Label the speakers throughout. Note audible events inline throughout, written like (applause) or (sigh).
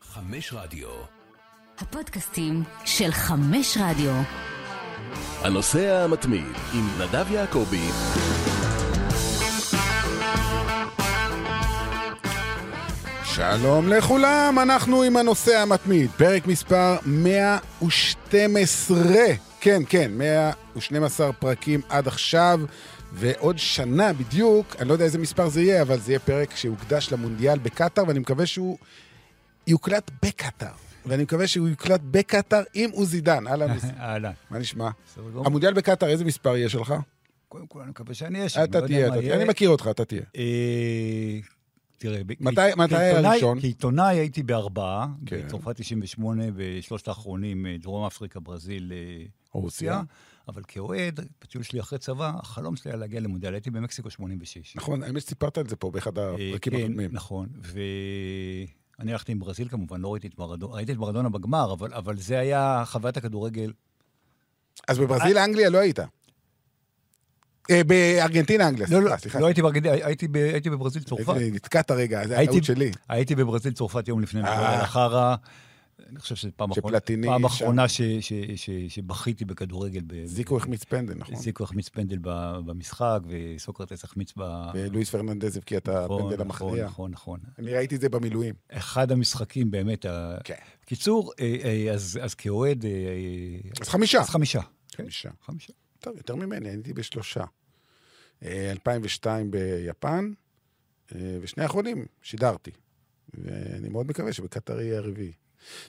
Speaker 1: חמש רדיו.
Speaker 2: הפודקאסטים של חמש רדיו.
Speaker 3: הנוסע המתמיד עם נדב יעקבי.
Speaker 4: שלום לכולם, אנחנו עם הנוסע המתמיד, פרק מספר 112. כן, כן, 112 פרקים עד עכשיו, ועוד שנה בדיוק, אני לא יודע איזה מספר זה יהיה, אבל זה יהיה פרק שהוקדש למונדיאל בקטאר, ואני מקווה שהוא יוקלט בקטאר. ואני מקווה שהוא יוקלט בקטאר עם עוזי דן. אהלן,
Speaker 5: (laughs)
Speaker 4: עוזי.
Speaker 5: אהלן.
Speaker 4: מה נשמע?
Speaker 5: בסדר גמור.
Speaker 4: המונדיאל בקטאר, איזה מספר יהיה שלך?
Speaker 5: קודם כל, אני מקווה שאני אהיה שם.
Speaker 4: אתה
Speaker 5: לא יודע
Speaker 4: תהיה,
Speaker 5: מה
Speaker 4: אתה תהיה.
Speaker 5: יהיה.
Speaker 4: אני מכיר אותך, אתה תהיה.
Speaker 5: אה, תראה, ב-
Speaker 4: מתי-
Speaker 5: כ-
Speaker 4: מתי היה
Speaker 5: כעיתונאי-
Speaker 4: הראשון?
Speaker 5: כעיתונאי הייתי בארבעה,
Speaker 4: כן.
Speaker 5: בצרפת 98, בשלושת האחרונים, אה, דרום אפריקה, ברזיל, אה,
Speaker 4: רוסיה.
Speaker 5: אבל כאוהד, בטיול שלי אחרי צבא, החלום שלי היה להגיע למונדיאל, הייתי במקסיקו 86.
Speaker 4: נכון, האמת שסיפרת על זה פה באחד
Speaker 5: אה,
Speaker 4: הפרקים
Speaker 5: כן,
Speaker 4: הקודמים.
Speaker 5: נכון, ואני הלכתי עם ברזיל כמובן, לא ראיתי את מרדונה, ראיתי את מרדונה בגמר, אבל- אבל זה היה חוויית הכדורגל.
Speaker 4: אה, אז בברזיל, אנגליה לא היית. אה, בארגנטינה, אנגליה,
Speaker 5: לא, לא,
Speaker 4: סליחה, סליחה.
Speaker 5: לא הייתי בארגנטינה, הייתי ב- הייתי בברזיל, צרפת.
Speaker 4: הייתי- נתקעת רגע, זה
Speaker 5: הייתי-
Speaker 4: הטעות שלי.
Speaker 5: הייתי בברזיל צרפת יום לפני
Speaker 4: אה.
Speaker 5: מגדל החרא. אני חושב שזו פעם אחרונה-
Speaker 4: שפלטיני
Speaker 5: פעם
Speaker 4: שם.
Speaker 5: אחרונה ש- ש- ש- שבכיתי בכדורגל. ב-
Speaker 4: זיקו החמיץ פנדל, נכון.
Speaker 5: זיקו החמיץ פנדל ב- במשחק, וסוקרטס החמיץ ב...
Speaker 4: ולואיס פרננדז הבקיע את
Speaker 5: נכון,
Speaker 4: הפנדל
Speaker 5: נכון,
Speaker 4: המכריע.
Speaker 5: נכון, אה. נכון.
Speaker 4: אני ראיתי את זה במילואים.
Speaker 5: אחד המשחקים באמת... ה-
Speaker 4: כן.
Speaker 5: קיצור, אה, אה, אז אז כאוהד... אה, אה,
Speaker 4: אז חמישה.
Speaker 5: אז חמישה.
Speaker 4: חמישה.
Speaker 5: חמישה.
Speaker 4: טוב, יותר ממני, אני הייתי בשלושה. אה, 2002 ביפן, אה, ושני האחרונים שידרתי. ואני מאוד מקווה שבקטר יהיה הרביעי.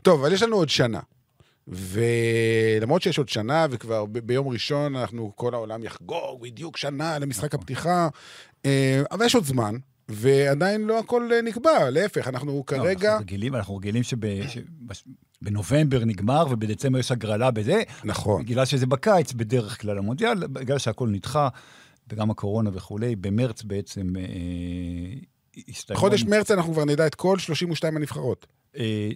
Speaker 4: טוב, אבל יש לנו עוד שנה. ולמרות שיש עוד שנה, וכבר ב- ביום ראשון אנחנו, כל העולם יחגוג בדיוק שנה למשחק הפתיחה, אה, אבל יש עוד זמן, ועדיין לא הכל אה, נקבע, להפך, אנחנו
Speaker 5: לא,
Speaker 4: כרגע...
Speaker 5: אנחנו רגילים, אנחנו רגילים שבנובמבר נגמר ובדצמבר יש הגרלה בזה.
Speaker 4: נכון.
Speaker 5: בגלל שזה בקיץ בדרך כלל המונדיאל, בגלל שהכל נדחה, וגם הקורונה וכולי, במרץ בעצם אה, הסתיימו...
Speaker 4: חודש מרץ אנחנו כבר נדע את כל 32 הנבחרות.
Speaker 5: אה,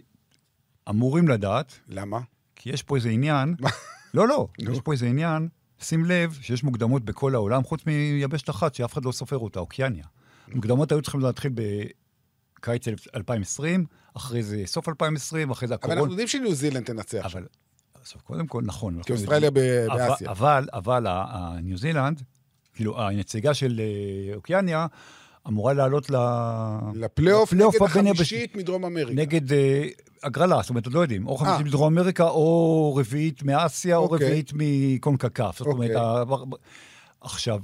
Speaker 5: אמורים לדעת,
Speaker 4: למה?
Speaker 5: כי יש פה איזה עניין...
Speaker 4: מה?
Speaker 5: לא, לא,
Speaker 4: נו.
Speaker 5: יש פה איזה עניין, שים לב שיש מוקדמות בכל העולם, חוץ מיבשת אחת שאף אחד לא סופר אותה, אוקיאניה. המוקדמות היו צריכים להתחיל בקיץ 2020, אחרי זה סוף 2020, אחרי זה
Speaker 4: אבל אנחנו
Speaker 5: הקורונה.
Speaker 4: יודעים שניו זילנד תנצח.
Speaker 5: אבל, עכשיו, קודם כל, נכון.
Speaker 4: כי
Speaker 5: אנחנו
Speaker 4: אוסטרליה ב-
Speaker 5: אבל-
Speaker 4: באסיה.
Speaker 5: אבל, אבל ה- ה- ניו זילנד, כאילו, הנציגה של אה, אוקיאניה, אמורה לעלות ל...
Speaker 4: לפלייאוף נגד
Speaker 5: בין היבש-
Speaker 4: החמישית מדרום אמריקה.
Speaker 5: נגד אה, הגרלה, זאת אומרת, עוד לא יודעים, או
Speaker 4: אה.
Speaker 5: חמישית מדרום אמריקה, או רביעית מאסיה, או
Speaker 4: אוקיי.
Speaker 5: רביעית מקונקקף. זאת אומרת,
Speaker 4: אוקיי.
Speaker 5: ה- עכשיו...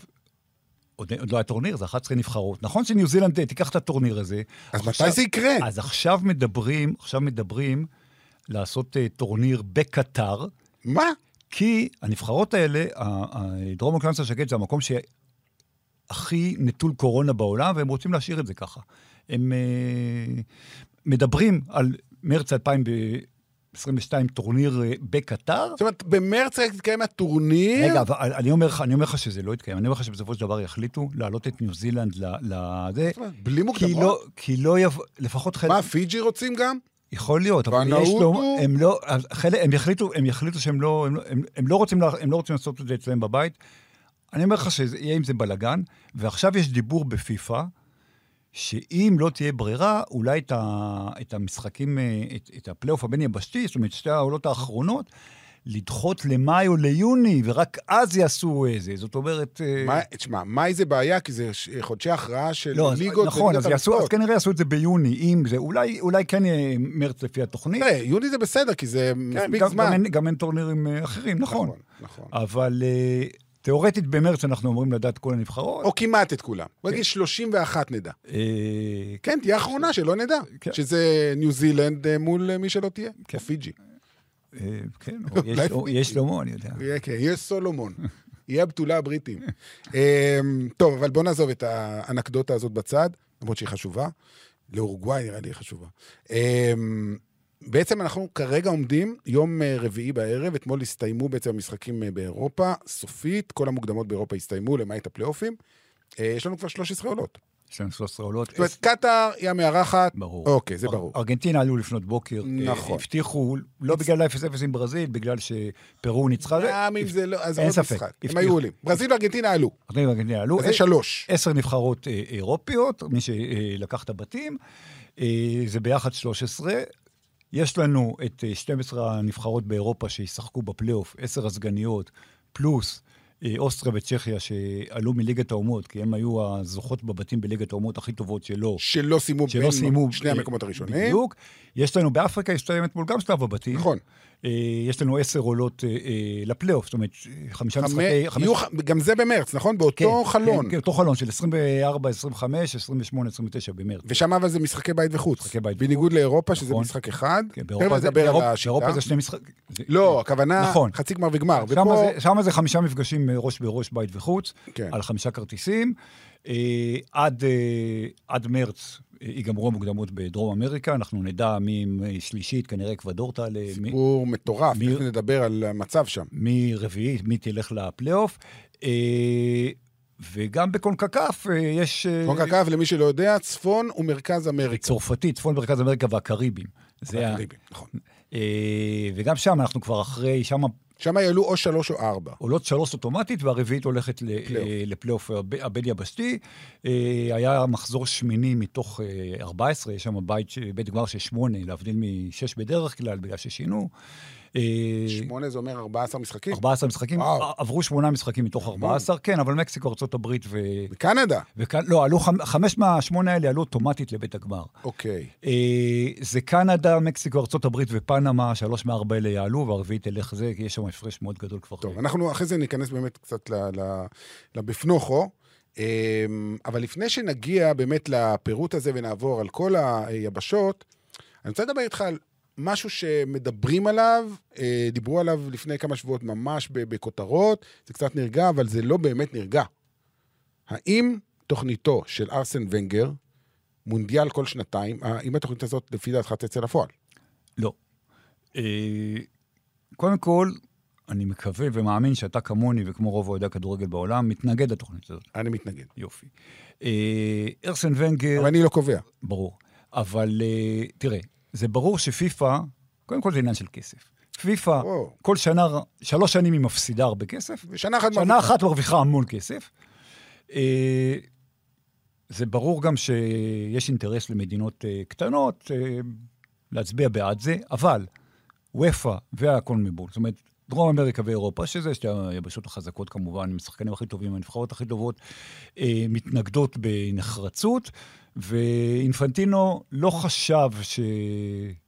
Speaker 5: עוד עוד לא היה טורניר, זה 11 נבחרות. נכון שניו זילנד אה, תיקח את הטורניר הזה.
Speaker 4: אז מתי
Speaker 5: עכשיו-
Speaker 4: זה יקרה?
Speaker 5: אז עכשיו מדברים, עכשיו מדברים לעשות אה, טורניר בקטר,
Speaker 4: מה?
Speaker 5: כי הנבחרות האלה, ה- ה- דרום אוקלנס השקט זה המקום שהכי נטול קורונה בעולם, והם רוצים להשאיר את זה ככה. הם אה, מדברים על מרץ 2022 טורניר אה, בקטר.
Speaker 4: זאת אומרת, במרץ רק יתקיים הטורניר?
Speaker 5: רגע, אבל אני אומר לך, אני אומר לך שזה לא יתקיים, אני אומר לך שבסופו של דבר יחליטו להעלות את ניו זילנד ל- לזה.
Speaker 4: בלי
Speaker 5: כי לא,
Speaker 4: מוקדמות?
Speaker 5: כי לא יבוא, לפחות חלק...
Speaker 4: מה, פיג'י רוצים גם?
Speaker 5: יכול להיות, אבל
Speaker 4: והנהוד
Speaker 5: יש לו,
Speaker 4: הוא-
Speaker 5: הם לא, חלק, הם יחליטו, הם יחליטו שהם לא, הם, לא- הם, הם, לא רוצים, לה- הם לא רוצים לעשות את זה אצלם בבית. אני אומר לך שיהיה עם זה בלאגן, ועכשיו יש דיבור בפיפ"א, שאם לא תהיה ברירה, אולי את, ה, את המשחקים, אה, את, את הפלייאוף הבין-יבשתי, זאת אומרת, שתי העולות האחרונות, לדחות למאי או ליוני, ורק אז יעשו איזה. זאת אומרת... אה,
Speaker 4: מה- תשמע, מאי זה בעיה, כי זה ש- חודשי הכרעה של
Speaker 5: לא, אז-
Speaker 4: ליגות.
Speaker 5: נכון, אז,
Speaker 4: וליגת
Speaker 5: יעשו, אז
Speaker 4: אלופות.
Speaker 5: כנראה יעשו את זה ביוני, אם זה, אולי, אולי כן יהיה מרץ לפי התוכנית.
Speaker 4: תראה, יוני זה בסדר, כי זה מספיק
Speaker 5: כן, גם-
Speaker 4: כן, זמן.
Speaker 5: גם אין, גם אין טורנירים אה, אחרים, נכון.
Speaker 4: נכון, נכון.
Speaker 5: אבל אה, תיאורטית במרץ אנחנו אמורים לדעת כל הנבחרות.
Speaker 4: או כמעט את כולם. בוא
Speaker 5: כן.
Speaker 4: נגיד 31 נדע.
Speaker 5: אה,
Speaker 4: כן, תהיה האחרונה, שלא נדע.
Speaker 5: כן.
Speaker 4: שזה ניו זילנד אה, מול אה, מי שלא תהיה. או פיג'י.
Speaker 5: אה, כן, או יש-
Speaker 4: (laughs) אולי
Speaker 5: או
Speaker 4: פיגי.
Speaker 5: יש שלמה, אני יודע.
Speaker 4: יהיה, כן, יהיה
Speaker 5: (laughs)
Speaker 4: סולומון. יהיה הבתולה הבריטים. אמ, טוב, אבל בוא נעזוב את האנקדוטה הזאת בצד, למרות שהיא חשובה. לאורוגוואי נראה לי היא חשובה. אמ, בעצם אנחנו כרגע עומדים, יום אה, רביעי בערב, אתמול הסתיימו בעצם המשחקים אה, באירופה, סופית, כל המוקדמות באירופה הסתיימו, למעט הפלייאופים. אה, יש לנו כבר 13 עולות.
Speaker 5: יש לנו 13 עולות.
Speaker 4: זאת אומרת, קטאר היא המארחת.
Speaker 5: ברור.
Speaker 4: אוקיי, זה ברור.
Speaker 5: ארגנטינה עלו לפנות בוקר. אה,
Speaker 4: נכון.
Speaker 5: הבטיחו, לא בגלל ה-0-0 עם ברזיל, בגלל שפרו ניצחה.
Speaker 4: גם אם זה לא, אז
Speaker 5: אין
Speaker 4: עוד
Speaker 5: ספק.
Speaker 4: משחק. הם
Speaker 5: הבטיחו.
Speaker 4: היו עולים. ברזיל וארגנטינה עלו.
Speaker 5: אז ארגנטינה עלו. אה,
Speaker 4: אז זה שלוש.
Speaker 5: עשר נבחרות אה, אירופיות, מי שלקח את הבתים, אה, זה ביחד 13. יש לנו את אה, 12 הנבחרות באירופה שישחקו בפלייאוף, 10 הסגניות, פלוס אה, אוסטריה וצ'כיה שעלו מליגת האומות, כי הן היו הזוכות בבתים בליגת האומות הכי טובות שלא.
Speaker 4: שלא סיימו
Speaker 5: שלא
Speaker 4: בין
Speaker 5: סיימו...
Speaker 4: שני
Speaker 5: אה,
Speaker 4: המקומות הראשונים.
Speaker 5: בדיוק. יש לנו, באפריקה הסתיים אתמול גם שלב הבתים.
Speaker 4: נכון.
Speaker 5: אה, יש לנו עשר עולות אה, אה, לפלייאוף, זאת אומרת, חמישה
Speaker 4: חמש-
Speaker 5: משחקי... חמש-
Speaker 4: יהיו ח- גם זה במרץ, נכון?
Speaker 5: כן,
Speaker 4: באותו
Speaker 5: כן,
Speaker 4: חלון.
Speaker 5: כן, אותו חלון של 24, 25, 28, 29 במרץ.
Speaker 4: ושם אבל זה משחקי בית וחוץ.
Speaker 5: משחקי בית
Speaker 4: בניגוד לאירופה, שזה
Speaker 5: נכון.
Speaker 4: משחק אחד.
Speaker 5: כן,
Speaker 4: תכף
Speaker 5: באירופה זה-
Speaker 4: נדבר על
Speaker 5: באירופה-
Speaker 4: השיטה.
Speaker 5: באירופה זה שני משחקים.
Speaker 4: לא, הכוונה,
Speaker 5: נכון.
Speaker 4: חצי גמר וגמר.
Speaker 5: שם
Speaker 4: ופה,
Speaker 5: זה, שמה זה חמישה מפגשים אה, ראש בראש, בית וחוץ,
Speaker 4: כן.
Speaker 5: על חמישה כרטיסים. אה, עד, אה, עד מרץ אה, ייגמרו המוקדמות בדרום אמריקה, אנחנו נדע מי אה, שלישית, כנראה אקוודור תעלה, מי-
Speaker 4: סיפור מטורף,
Speaker 5: מי-
Speaker 4: תכף נדבר על המצב שם.
Speaker 5: מי רביעית, מי תלך לפלייאוף. אה, וגם בקונקקף אה, יש... אה,
Speaker 4: קונקקף, למי שלא יודע, צפון ומרכז אמריקה.
Speaker 5: צרפתי, צפון מרכז אמריקה והקריבים. זה ה-
Speaker 4: הקריבים, נכון.
Speaker 5: אה, וגם שם אנחנו כבר אחרי, שם
Speaker 4: שם יעלו או שלוש או ארבע.
Speaker 5: עולות שלוש אוטומטית, והרביעית הולכת ל-
Speaker 4: לפלייאוף.
Speaker 5: אה, לפלייאוף הב- הבין-יבשתי. אה, היה מחזור שמיני מתוך אה, 14, יש שם בית, ש- בית גמר של שמונה, להבדיל משש בדרך כלל, בגלל ששינו. אה,
Speaker 4: שמונה זה אומר 14 משחקים.
Speaker 5: 14 משחקים,
Speaker 4: וואו.
Speaker 5: ע- עברו שמונה משחקים מתוך 14, כן, אבל מקסיקו, ארה"ב ו...
Speaker 4: בקנדה.
Speaker 5: וכאן, לא, עלו חמ- חמש מהשמונה האלה עלו אוטומטית לבית הגמר.
Speaker 4: אוקיי.
Speaker 5: אה, זה קנדה, מקסיקו, ארה"ב ופנמה, שלוש מארבע אלה יעלו, והרביעית תלך זה, כי יש שם הפרש מאוד גדול כבר.
Speaker 4: טוב, אנחנו אחרי זה ניכנס באמת קצת ל- ל- לבפנוכו. אמ, אבל לפני שנגיע באמת לפירוט הזה ונעבור על כל היבשות, אני רוצה לדבר איתך על משהו שמדברים עליו, אה, דיברו עליו לפני כמה שבועות ממש ב- בכותרות, זה קצת נרגע, אבל זה לא באמת נרגע. האם תוכניתו של ארסן ונגר, מונדיאל כל שנתיים, אה, האם התוכנית הזאת לפי דעתך תצא לפועל?
Speaker 5: לא. אה, קודם כל, אני מקווה ומאמין שאתה כמוני וכמו רוב אוהדי הכדורגל בעולם, מתנגד לתוכנית הזאת.
Speaker 4: אני מתנגד.
Speaker 5: יופי. אה, ארסן ונגר...
Speaker 4: אבל אני לא קובע.
Speaker 5: ברור. אבל אה, תראה, זה ברור שפיפ"א, קודם כל זה עניין של כסף. פיפ"א,
Speaker 4: וואו.
Speaker 5: כל שנה, שלוש שנים היא מפסידה הרבה כסף,
Speaker 4: ושנה אחת...
Speaker 5: שנה
Speaker 4: מרוויחה.
Speaker 5: אחת מרוויחה המון כסף. אה, זה ברור גם שיש אינטרס למדינות אה, קטנות אה, להצביע בעד זה, אבל וופא והקונמיבול, זאת אומרת, דרום אמריקה ואירופה, שזה שתי היבשות החזקות כמובן, עם השחקנים הכי טובים, הנבחרות הכי טובות, אה, מתנגדות בנחרצות, ואינפנטינו לא חשב ש...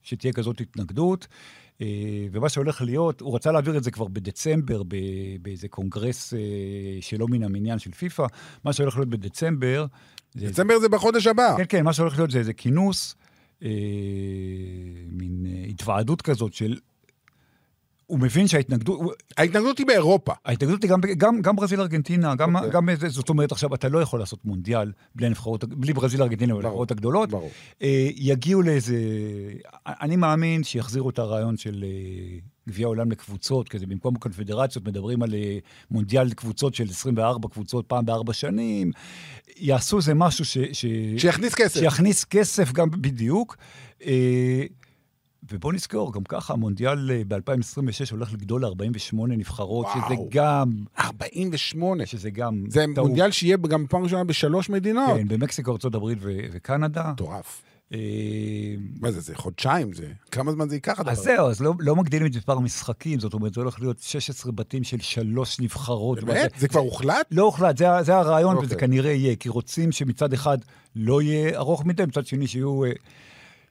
Speaker 5: שתהיה כזאת התנגדות, אה, ומה שהולך להיות, הוא רצה להעביר את זה כבר בדצמבר, ב... באיזה קונגרס אה, שלא מן המניין של פיפ"א, מה שהולך להיות בדצמבר, זה
Speaker 4: דצמבר זה בחודש הבא.
Speaker 5: כן, כן, מה שהולך להיות זה איזה כינוס, אה, מין אה, התוועדות כזאת של... הוא מבין שההתנגדות, הוא-
Speaker 4: ההתנגדות היא באירופה.
Speaker 5: ההתנגדות היא גם, גם, גם ברזיל-ארגנטינה, גם,
Speaker 4: אוקיי.
Speaker 5: גם איזה- זאת אומרת עכשיו, אתה לא יכול לעשות מונדיאל בלי, הנבחרות- בלי ברזיל-ארגנטינה והנבחרות הגדולות.
Speaker 4: ברור.
Speaker 5: אה, יגיעו לאיזה... אני מאמין שיחזירו את הרעיון של אה, גביע העולם לקבוצות, כזה במקום קונפדרציות מדברים על אה, מונדיאל קבוצות של 24 קבוצות פעם בארבע שנים. יעשו איזה משהו ש... ש...
Speaker 4: שיכניס כסף.
Speaker 5: שיכניס כסף גם בדיוק. אה, ובוא נזכור, גם ככה המונדיאל אה, ב-2026 הולך לגדול ל-48 נבחרות,
Speaker 4: וואו.
Speaker 5: שזה גם,
Speaker 4: 48.
Speaker 5: שזה גם
Speaker 4: זה
Speaker 5: טעות.
Speaker 4: מונדיאל שיהיה גם פעם ראשונה בשלוש מדינות.
Speaker 5: כן, במקסיקו, ארה"ב ו- וקנדה.
Speaker 4: מטורף.
Speaker 5: אה,
Speaker 4: מה זה, זה חודשיים זה? כמה זמן זה ייקח הדבר
Speaker 5: אז
Speaker 4: הזה?
Speaker 5: זהו, אז לא, לא מגדילים את מספר המשחקים, זאת אומרת, זה הולך להיות 16 בתים של שלוש נבחרות.
Speaker 4: באמת?
Speaker 5: מה זה-
Speaker 4: זה כבר הוחלט?
Speaker 5: לא הוחלט, זה, ה- זה הרעיון,
Speaker 4: אוקיי.
Speaker 5: וזה כנראה יהיה, כי רוצים שמצד אחד לא יהיה ארוך מדי, מצד שני שיהיו... אה,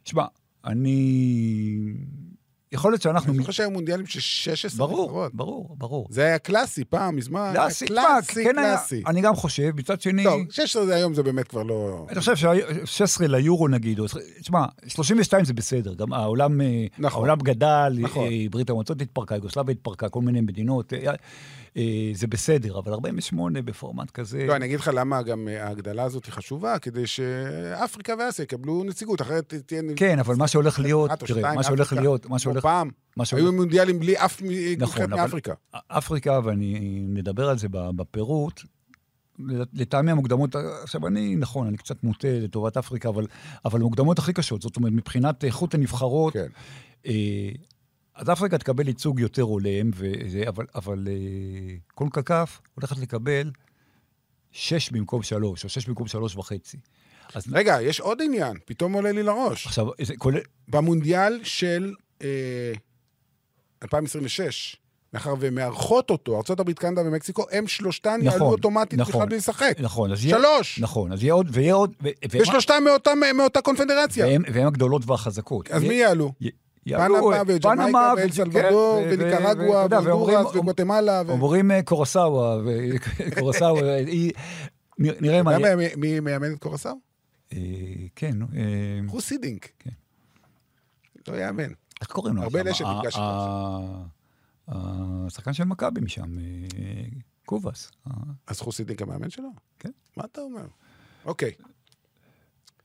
Speaker 5: שמע, אני... יכול להיות שאנחנו...
Speaker 4: אני זוכר שהיו מונדיאלים של 16
Speaker 5: ברור,
Speaker 4: נבחרות.
Speaker 5: ברור, ברור.
Speaker 4: זה היה קלאסי פעם, מזמן. היה
Speaker 5: קלאסי, קלאסי, כן היה,
Speaker 4: קלאסי.
Speaker 5: אני גם חושב, מצד שני...
Speaker 4: אה, טוב, 16 זה היום זה באמת כבר לא...
Speaker 5: אני חושב ש-16 ליורו נגיד, או- תשמע, 32 זה בסדר, גם העולם, אה,
Speaker 4: נכון.
Speaker 5: העולם גדל,
Speaker 4: נכון.
Speaker 5: אה, ברית המועצות התפרקה, יוגוסלביה התפרקה, כל מיני מדינות, אה, אה, זה בסדר, אבל 48 בפורמט כזה...
Speaker 4: לא, אני אגיד לך למה גם אה, ההגדלה הזאת היא חשובה, כדי שאפריקה ואסיה יקבלו נציגות, אחרת תהיה...
Speaker 5: כן, אבל מה שהולך להיות,
Speaker 4: אחת אה, או
Speaker 5: תראה,
Speaker 4: שתיים
Speaker 5: מה שהולך
Speaker 4: מאפריקה.
Speaker 5: להיות, מה
Speaker 4: כמו
Speaker 5: שהולך...
Speaker 4: פעם,
Speaker 5: מה שהולך-
Speaker 4: היו מונדיאלים בלי אף מ-
Speaker 5: נכון,
Speaker 4: נבחרת
Speaker 5: אבל-
Speaker 4: מאפריקה.
Speaker 5: אפריקה, ואני נדבר על זה ב- בפירוט, לטעמי המוקדמות, עכשיו אני, נכון, אני קצת מוטה לטובת אפריקה, אבל, אבל המוקדמות הכי קשות, זאת אומרת, מבחינת איכות הנבחרות,
Speaker 4: כן.
Speaker 5: אה, אז אפריקה תקבל ייצוג יותר הולם, וזה, אבל, אבל אה, קונקקף הולכת לקבל שש במקום שלוש, או שש במקום שלוש וחצי. אז
Speaker 4: רגע, יש עוד עניין, פתאום עולה לי לראש.
Speaker 5: עכשיו, זה כולל...
Speaker 4: במונדיאל של אה, 2026, מאחר והן מארחות אותו, ארה"ב, קנדה ומקסיקו, הם שלושתן יעלו
Speaker 5: נכון,
Speaker 4: אוטומטית
Speaker 5: נכון.
Speaker 4: בכלל בלי לשחק.
Speaker 5: נכון, אז יהיה...
Speaker 4: שלוש!
Speaker 5: נכון, אז יהיה עוד, ויהיה עוד... ו- והם-
Speaker 4: ושלושתן מאותה- מאותה קונפדרציה.
Speaker 5: והם- והם הגדולות והחזקות.
Speaker 4: אז
Speaker 5: יהיה-
Speaker 4: מי יעלו?
Speaker 5: י- יעלו,
Speaker 4: פנמה
Speaker 5: אה,
Speaker 4: וג'מייקה
Speaker 5: פנמה
Speaker 4: ואל
Speaker 5: וג'-
Speaker 4: סלבדור
Speaker 5: כן, ו- ו-
Speaker 4: וניקרגואה
Speaker 5: ואתה יודע,
Speaker 4: והונדורס
Speaker 5: ואומרים-
Speaker 4: וגואטמלה. ו-
Speaker 5: אומרים אה, קורסאווה, ו- (laughs) קורסאווה, אה, היא... נ- נראה מה...
Speaker 4: אתה
Speaker 5: יהיה.
Speaker 4: יודע מי- מי מאמן את קורסאו?
Speaker 5: אה, כן, נו, אה,
Speaker 4: חוסי דינק.
Speaker 5: כן.
Speaker 4: לא יאמן.
Speaker 5: איך קוראים לו?
Speaker 4: הרבה
Speaker 5: שם?
Speaker 4: נשק
Speaker 5: ה-
Speaker 4: נפגש
Speaker 5: ה- השחקן של מכבי משם, אה, קובאס. אה,
Speaker 4: אז חוסי דינק המאמן שלו?
Speaker 5: כן.
Speaker 4: מה אתה אומר? אוקיי,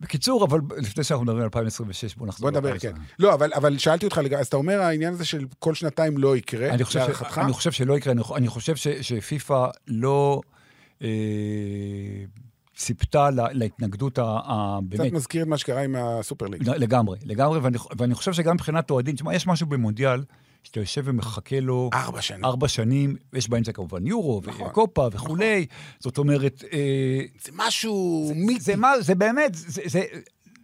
Speaker 5: בקיצור, אבל לפני שאנחנו מדברים על 2026, בואו
Speaker 4: בוא
Speaker 5: נחזור.
Speaker 4: נדבר, כן.
Speaker 5: ל-2022.
Speaker 4: לא, אבל- אבל שאלתי אותך, לגב- אז אתה אומר העניין הזה של כל שנתיים לא יקרה,
Speaker 5: אני חושב, ש...
Speaker 4: להערכתך?
Speaker 5: אני חושב שלא יקרה, אני, אני חושב ש... שפיפ"א לא אה, ציפתה לה... להתנגדות ה... ה...
Speaker 4: קצת
Speaker 5: באמת,
Speaker 4: מזכיר את מה שקרה עם הסופר ליג.
Speaker 5: לגמרי, לגמרי, ואני, ואני חושב שגם מבחינת אוהדים, תשמע, יש משהו במונדיאל, שאתה יושב ומחכה לו...
Speaker 4: ארבע שנים.
Speaker 5: ארבע שנים, יש באמצע כמובן יורו,
Speaker 4: אה, נכון,
Speaker 5: וקופה וכולי, זאת אומרת, אה,
Speaker 4: זה משהו מיתי.
Speaker 5: זה מה, זה באמת, זה, זה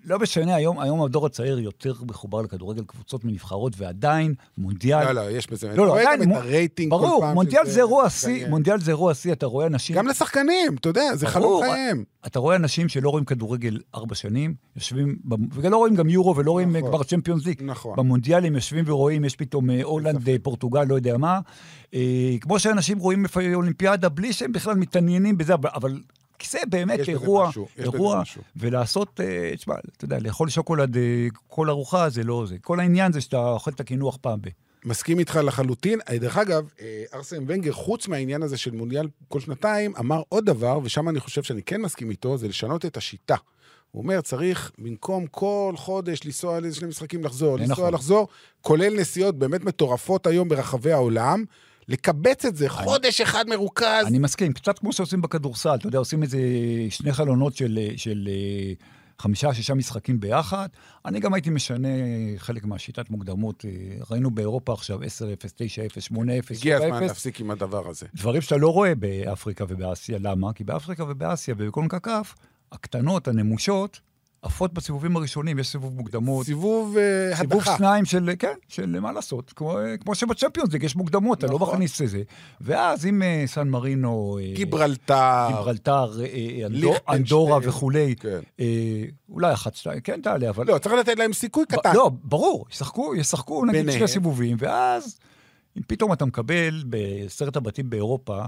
Speaker 5: לא משנה, היום, היום הדור הצעיר יותר מחובר לכדורגל, קבוצות מנבחרות, ועדיין מונדיאל...
Speaker 4: לא, לא, יש בזה...
Speaker 5: לא, לא,
Speaker 4: אתה רואה
Speaker 5: עדיין,
Speaker 4: גם
Speaker 5: מו-
Speaker 4: את הרייטינג כל
Speaker 5: ברור,
Speaker 4: פעם
Speaker 5: מונדיאל
Speaker 4: שזה-
Speaker 5: זה אירוע
Speaker 4: שזה
Speaker 5: שיא,
Speaker 4: יהיה.
Speaker 5: מונדיאל זה אירוע שיא, אתה רואה אנשים...
Speaker 4: גם לשחקנים, אתה יודע, זה חלום
Speaker 5: ברור,
Speaker 4: חייהם.
Speaker 5: אתה רואה אנשים שלא רואים כדורגל ארבע שנים, יושבים, במ- וגם לא רואים גם יורו ולא רואים אה,
Speaker 4: נכון.
Speaker 5: כבר צ'מפיונס ליג.
Speaker 4: נכון.
Speaker 5: במונדיאל הם יושבים ורואים, יש פתאום אה, הולנד, אה, פורטוגל, לא יודע מה. אה, כמו שאנשים רואים לפעמים אולימפיאדה, בלי שהם בכלל מתעניינים בזה, אבל- אבל כי זה
Speaker 4: יש
Speaker 5: באמת
Speaker 4: בזה
Speaker 5: אירוע,
Speaker 4: משהו, יש בזה
Speaker 5: אירוע,
Speaker 4: משהו.
Speaker 5: ולעשות, אה, תשמע, אתה יודע, לאכול שוקולד אה, כל ארוחה זה לא זה. כל העניין זה שאתה אוכל את הקינוח פעם ב...
Speaker 4: מסכים איתך לחלוטין. אה, דרך אגב, אה, ארסן ונגר, חוץ מהעניין הזה של מונדיאל כל שנתיים, אמר עוד דבר, ושם אני חושב שאני כן מסכים איתו, זה לשנות את השיטה. הוא אומר, צריך במקום כל חודש לנסוע לאיזה שני משחקים לחזור,
Speaker 5: זה
Speaker 4: לנסוע
Speaker 5: נכון.
Speaker 4: לחזור, כולל נסיעות באמת מטורפות היום ברחבי העולם, לקבץ את זה, חודש אחד מרוכז.
Speaker 5: אני מסכים, קצת כמו שעושים בכדורסל, אתה יודע, עושים איזה שני חלונות של, של אה, חמישה, שישה משחקים ביחד. אני גם הייתי משנה חלק מהשיטת מוקדמות, אה, ראינו באירופה עכשיו 10-0, 9-0, 8-0, 7-0.
Speaker 4: הגיע הזמן להפסיק עם הדבר הזה.
Speaker 5: דברים שאתה לא רואה באפריקה ובאסיה, למה? כי באפריקה ובאסיה, בכל כף, הקטנות, הנמושות, עפות בסיבובים הראשונים, יש סיבוב מוקדמות.
Speaker 4: סיבוב אה,
Speaker 5: סיבוב
Speaker 4: הדחה.
Speaker 5: שניים של, כן, של מה לעשות, כמו, אה, כמו שבצ'מפיונס ליג יש מוקדמות, אתה לא
Speaker 4: נכון.
Speaker 5: מכניס את זה. ואז אם אה, סן מרינו... אה,
Speaker 4: גיברלטר.
Speaker 5: גיברלטר, אה, אה, אנדו-
Speaker 4: ליכטנשטיין.
Speaker 5: אנדורה וכולי.
Speaker 4: כן.
Speaker 5: אה, אולי אחת, שתיים, כן תעלה, אבל...
Speaker 4: לא, צריך לתת להם סיכוי
Speaker 5: ב-
Speaker 4: קטן.
Speaker 5: לא, ברור, ישחקו, ישחקו נגיד
Speaker 4: ביניהם.
Speaker 5: שני סיבובים, ואז אם פתאום אתה מקבל בעשרת הבתים באירופה,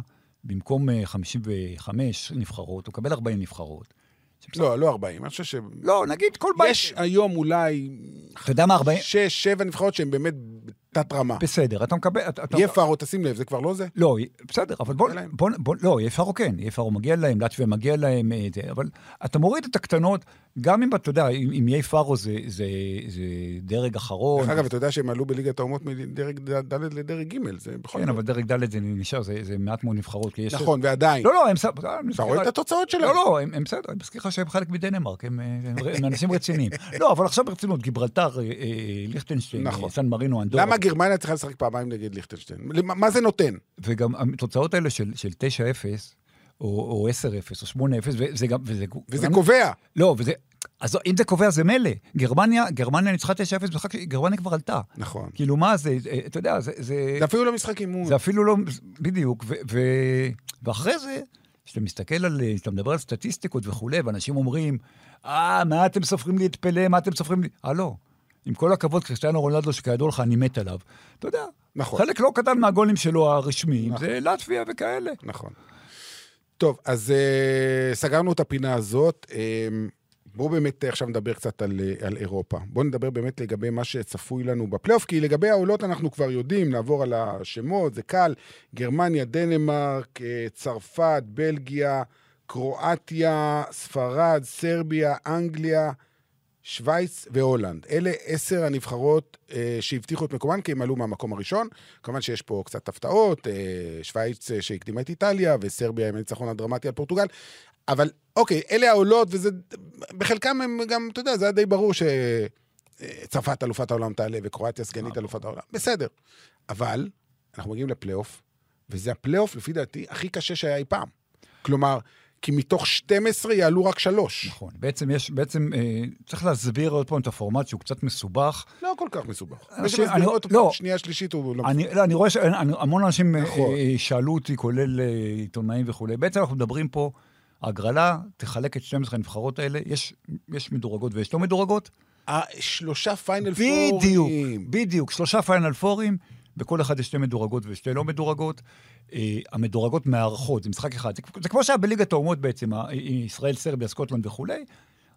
Speaker 5: במקום אה, 55 נבחרות, אתה מקבל 40 נבחרות.
Speaker 4: לא, לא 40, אני חושב ש...
Speaker 5: לא, נגיד כל בית...
Speaker 4: יש היום אולי
Speaker 5: אתה יודע מה, 40...
Speaker 4: שש, שבע נבחרות שהן באמת תת רמה.
Speaker 5: אה, בסדר, אתה מקבל... אתה- אתה-
Speaker 4: יהיה פארו, תשים לב, זה כבר לא זה.
Speaker 5: לא, בסדר, אבל בוא,
Speaker 4: מגיע להם.
Speaker 5: בוא, בוא, לא, יהיה פארו כן, יהיה פארו מגיע להם, לטביה מגיע להם, אה, זה, אבל אתה מוריד את הקטנות, גם אם אתה יודע, אם, אם יהיה פארו זה, זה, זה דרג אחרון.
Speaker 4: דרך אגב, אתה יודע שהם עלו בליגת האומות מדרג ד' לדרג ג', זה בכל
Speaker 5: כן,
Speaker 4: זאת.
Speaker 5: אבל דרג ד' זה נשאר, זה, זה מעט מאוד נבחרות. כי יש-
Speaker 4: נכון, ועדיין.
Speaker 5: לא, לא, הם... ס- אני
Speaker 4: אתה
Speaker 5: מזכיר
Speaker 4: רואה
Speaker 5: לך-
Speaker 4: את התוצאות שלהם.
Speaker 5: לא, לא, הם הם בסדר, אני מזכיר לך שהם חלק מדנמרק, הם, אה, הם ר- הם אנשים רציניים. (laughs) לא, אבל עכשיו ברצינות, גיברלטר, אה, אה, ליכטנשטיין,
Speaker 4: נכון.
Speaker 5: אה, סן מרינו, אנדורה.
Speaker 4: למה גרמניה צריכה לשחק פעמיים נגד ליכטנשטיין? למה- מה זה נותן?
Speaker 5: וגם התוצאות האלה של של 9-0, או- או 10-0, או 8-0, וזה גם...
Speaker 4: וזה קובע.
Speaker 5: לא, וזה... אז אם זה קובע, זה מילא. גרמניה, גרמניה ניצחה 9-0 במשחק, ש- גרמניה כבר עלתה.
Speaker 4: נכון.
Speaker 5: כאילו, מה זה, אה, אתה יודע, זה... זה,
Speaker 4: זה אפילו לא משחק אימון.
Speaker 5: זה אפילו לא... בדיוק. ו, ו, ואחרי זה, כשאתה מסתכל על... אה, כשאתה מדבר על סטטיסטיקות וכולי, ואנשים אומרים, אה, מה אתם סופרים לי את פלא, מה אתם סופרים לי... אה, לא. עם כל הכבוד, קריסטיאנו רונלדו, שכידוע לך, אני מת עליו. אתה יודע,
Speaker 4: נכון.
Speaker 5: חלק לא קטן מהגולים שלו הרשמיים, זה לטביה וכאלה.
Speaker 4: נכון. טוב, אז אה, סגרנו את הפינה הזאת. אה, בואו באמת אה, עכשיו נדבר קצת על, אה, על אירופה. בואו נדבר באמת לגבי מה שצפוי לנו בפלייאוף, כי לגבי העולות אנחנו כבר יודעים, נעבור על השמות, זה קל. גרמניה, דנמרק, אה, צרפת, בלגיה, קרואטיה, ספרד, סרביה, אנגליה, שווייץ והולנד. אלה עשר הנבחרות אה, שהבטיחו את מקומן, כי הם עלו מהמקום הראשון. כמובן שיש פה קצת הפתעות, אה, שווייץ אה, שהקדימה את איטליה, וסרביה עם הניצחון הדרמטי על פורטוגל. אבל אוקיי, אלה העולות, וזה... בחלקם הם גם, אתה יודע, זה היה די ברור ש... אה, צרפת אלופת העולם תעלה וקרואטיה סגנית אלופת העולם. בסדר. אבל אנחנו מגיעים לפלייאוף, וזה הפלייאוף, לפי דעתי, הכי קשה שהיה אי פעם. כלומר, כי מתוך 12 יעלו רק שלוש.
Speaker 5: נכון. בעצם יש, בעצם אה, צריך להסביר עוד פעם את הפורמט שהוא קצת מסובך.
Speaker 4: לא כל כך מסובך.
Speaker 5: אנשים-
Speaker 4: מי שמסביר
Speaker 5: אני-
Speaker 4: אותו
Speaker 5: לא.
Speaker 4: פעם שנייה, שלישית, הוא לא...
Speaker 5: אני, לא, אני רואה שהמון אנשים אה,
Speaker 4: נכון.
Speaker 5: אה, שאלו אותי, כולל אה, עיתונאים וכולי. בעצם אנחנו מדברים פה, ההגרלה תחלק את 12 הנבחרות האלה, יש, יש מדורגות ויש לא מדורגות.
Speaker 4: השלושה פיינל פורים.
Speaker 5: בדיוק, בדיוק, שלושה פיינל פורים, בכל אחד יש שתי מדורגות ושתי לא מדורגות. אה, המדורגות מארחות, זה משחק אחד. זה, זה כמו שהיה בליגת האומות בעצם, ה- אה, ישראל, סרביה, סקוטלנד וכולי,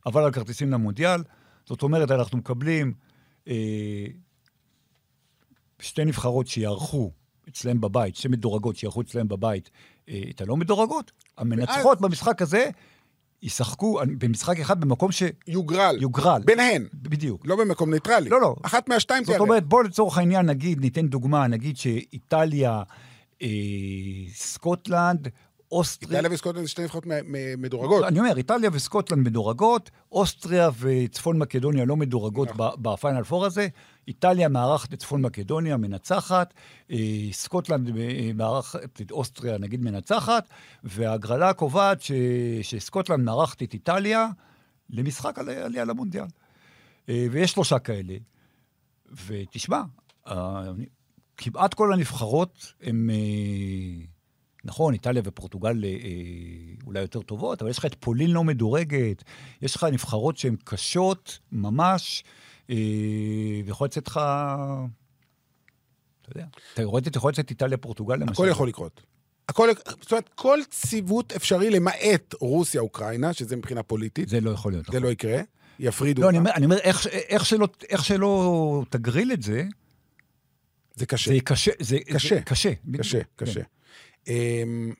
Speaker 5: אבל על כרטיסים למונדיאל. זאת אומרת, אנחנו מקבלים אה, שתי נבחרות שיערכו אצלם בבית, שתי מדורגות שיערכו אצלם בבית אה, את הלא מדורגות. המנצחות במשחק הזה ישחקו אה, במשחק אחד במקום ש...
Speaker 4: יוגרל.
Speaker 5: יוגרל.
Speaker 4: ביניהן.
Speaker 5: בדיוק.
Speaker 4: לא במקום ניטרלי.
Speaker 5: לא, לא.
Speaker 4: אחת מהשתיים
Speaker 5: זאת
Speaker 4: תעלה.
Speaker 5: אומרת, בוא לצורך העניין נגיד, ניתן דוגמה, נגיד שאיטליה, אה, סקוטלנד, אוסטריה...
Speaker 4: איטליה וסקוטלנד זה שתי נבחרות מ- מ- מדורגות.
Speaker 5: לא, אני אומר, איטליה וסקוטלנד מדורגות, אוסטריה וצפון מקדוניה לא מדורגות
Speaker 4: נכון.
Speaker 5: ב- בפיינל פור הזה. איטליה מארחת את צפון מקדוניה, מנצחת, אה, סקוטלנד אה, מארחת את אוסטריה, נגיד, מנצחת, וההגרלה קובעת ש- שסקוטלנד מארחת את איטליה למשחק על- עלייה למונדיאל. אה, ויש שלושה כאלה. ותשמע, אה, כמעט כל הנבחרות הן... אה, נכון, איטליה ופורטוגל אה, אה, אולי יותר טובות, אבל יש לך את פולין לא מדורגת, יש לך נבחרות שהן קשות ממש, אה, ויכול לצאת לך... אתה יודע, תיאורטית יכול לצאת איטליה פורטוגל למשל.
Speaker 4: הכל יכול לקרות. הכל, זאת אומרת, כל ציוות אפשרי למעט רוסיה-אוקראינה, שזה מבחינה פוליטית,
Speaker 5: זה לא יכול להיות.
Speaker 4: זה
Speaker 5: נכון.
Speaker 4: לא יקרה, יפרידו.
Speaker 5: לא, אני
Speaker 4: אותם.
Speaker 5: אומר, אני אומר איך, ש- איך, שלא, איך שלא תגריל את זה,
Speaker 4: זה קשה.
Speaker 5: זה קשה. זה,
Speaker 4: קשה.
Speaker 5: זה קשה. בדיוק.
Speaker 4: קשה,
Speaker 5: כן.
Speaker 4: קשה. אמ,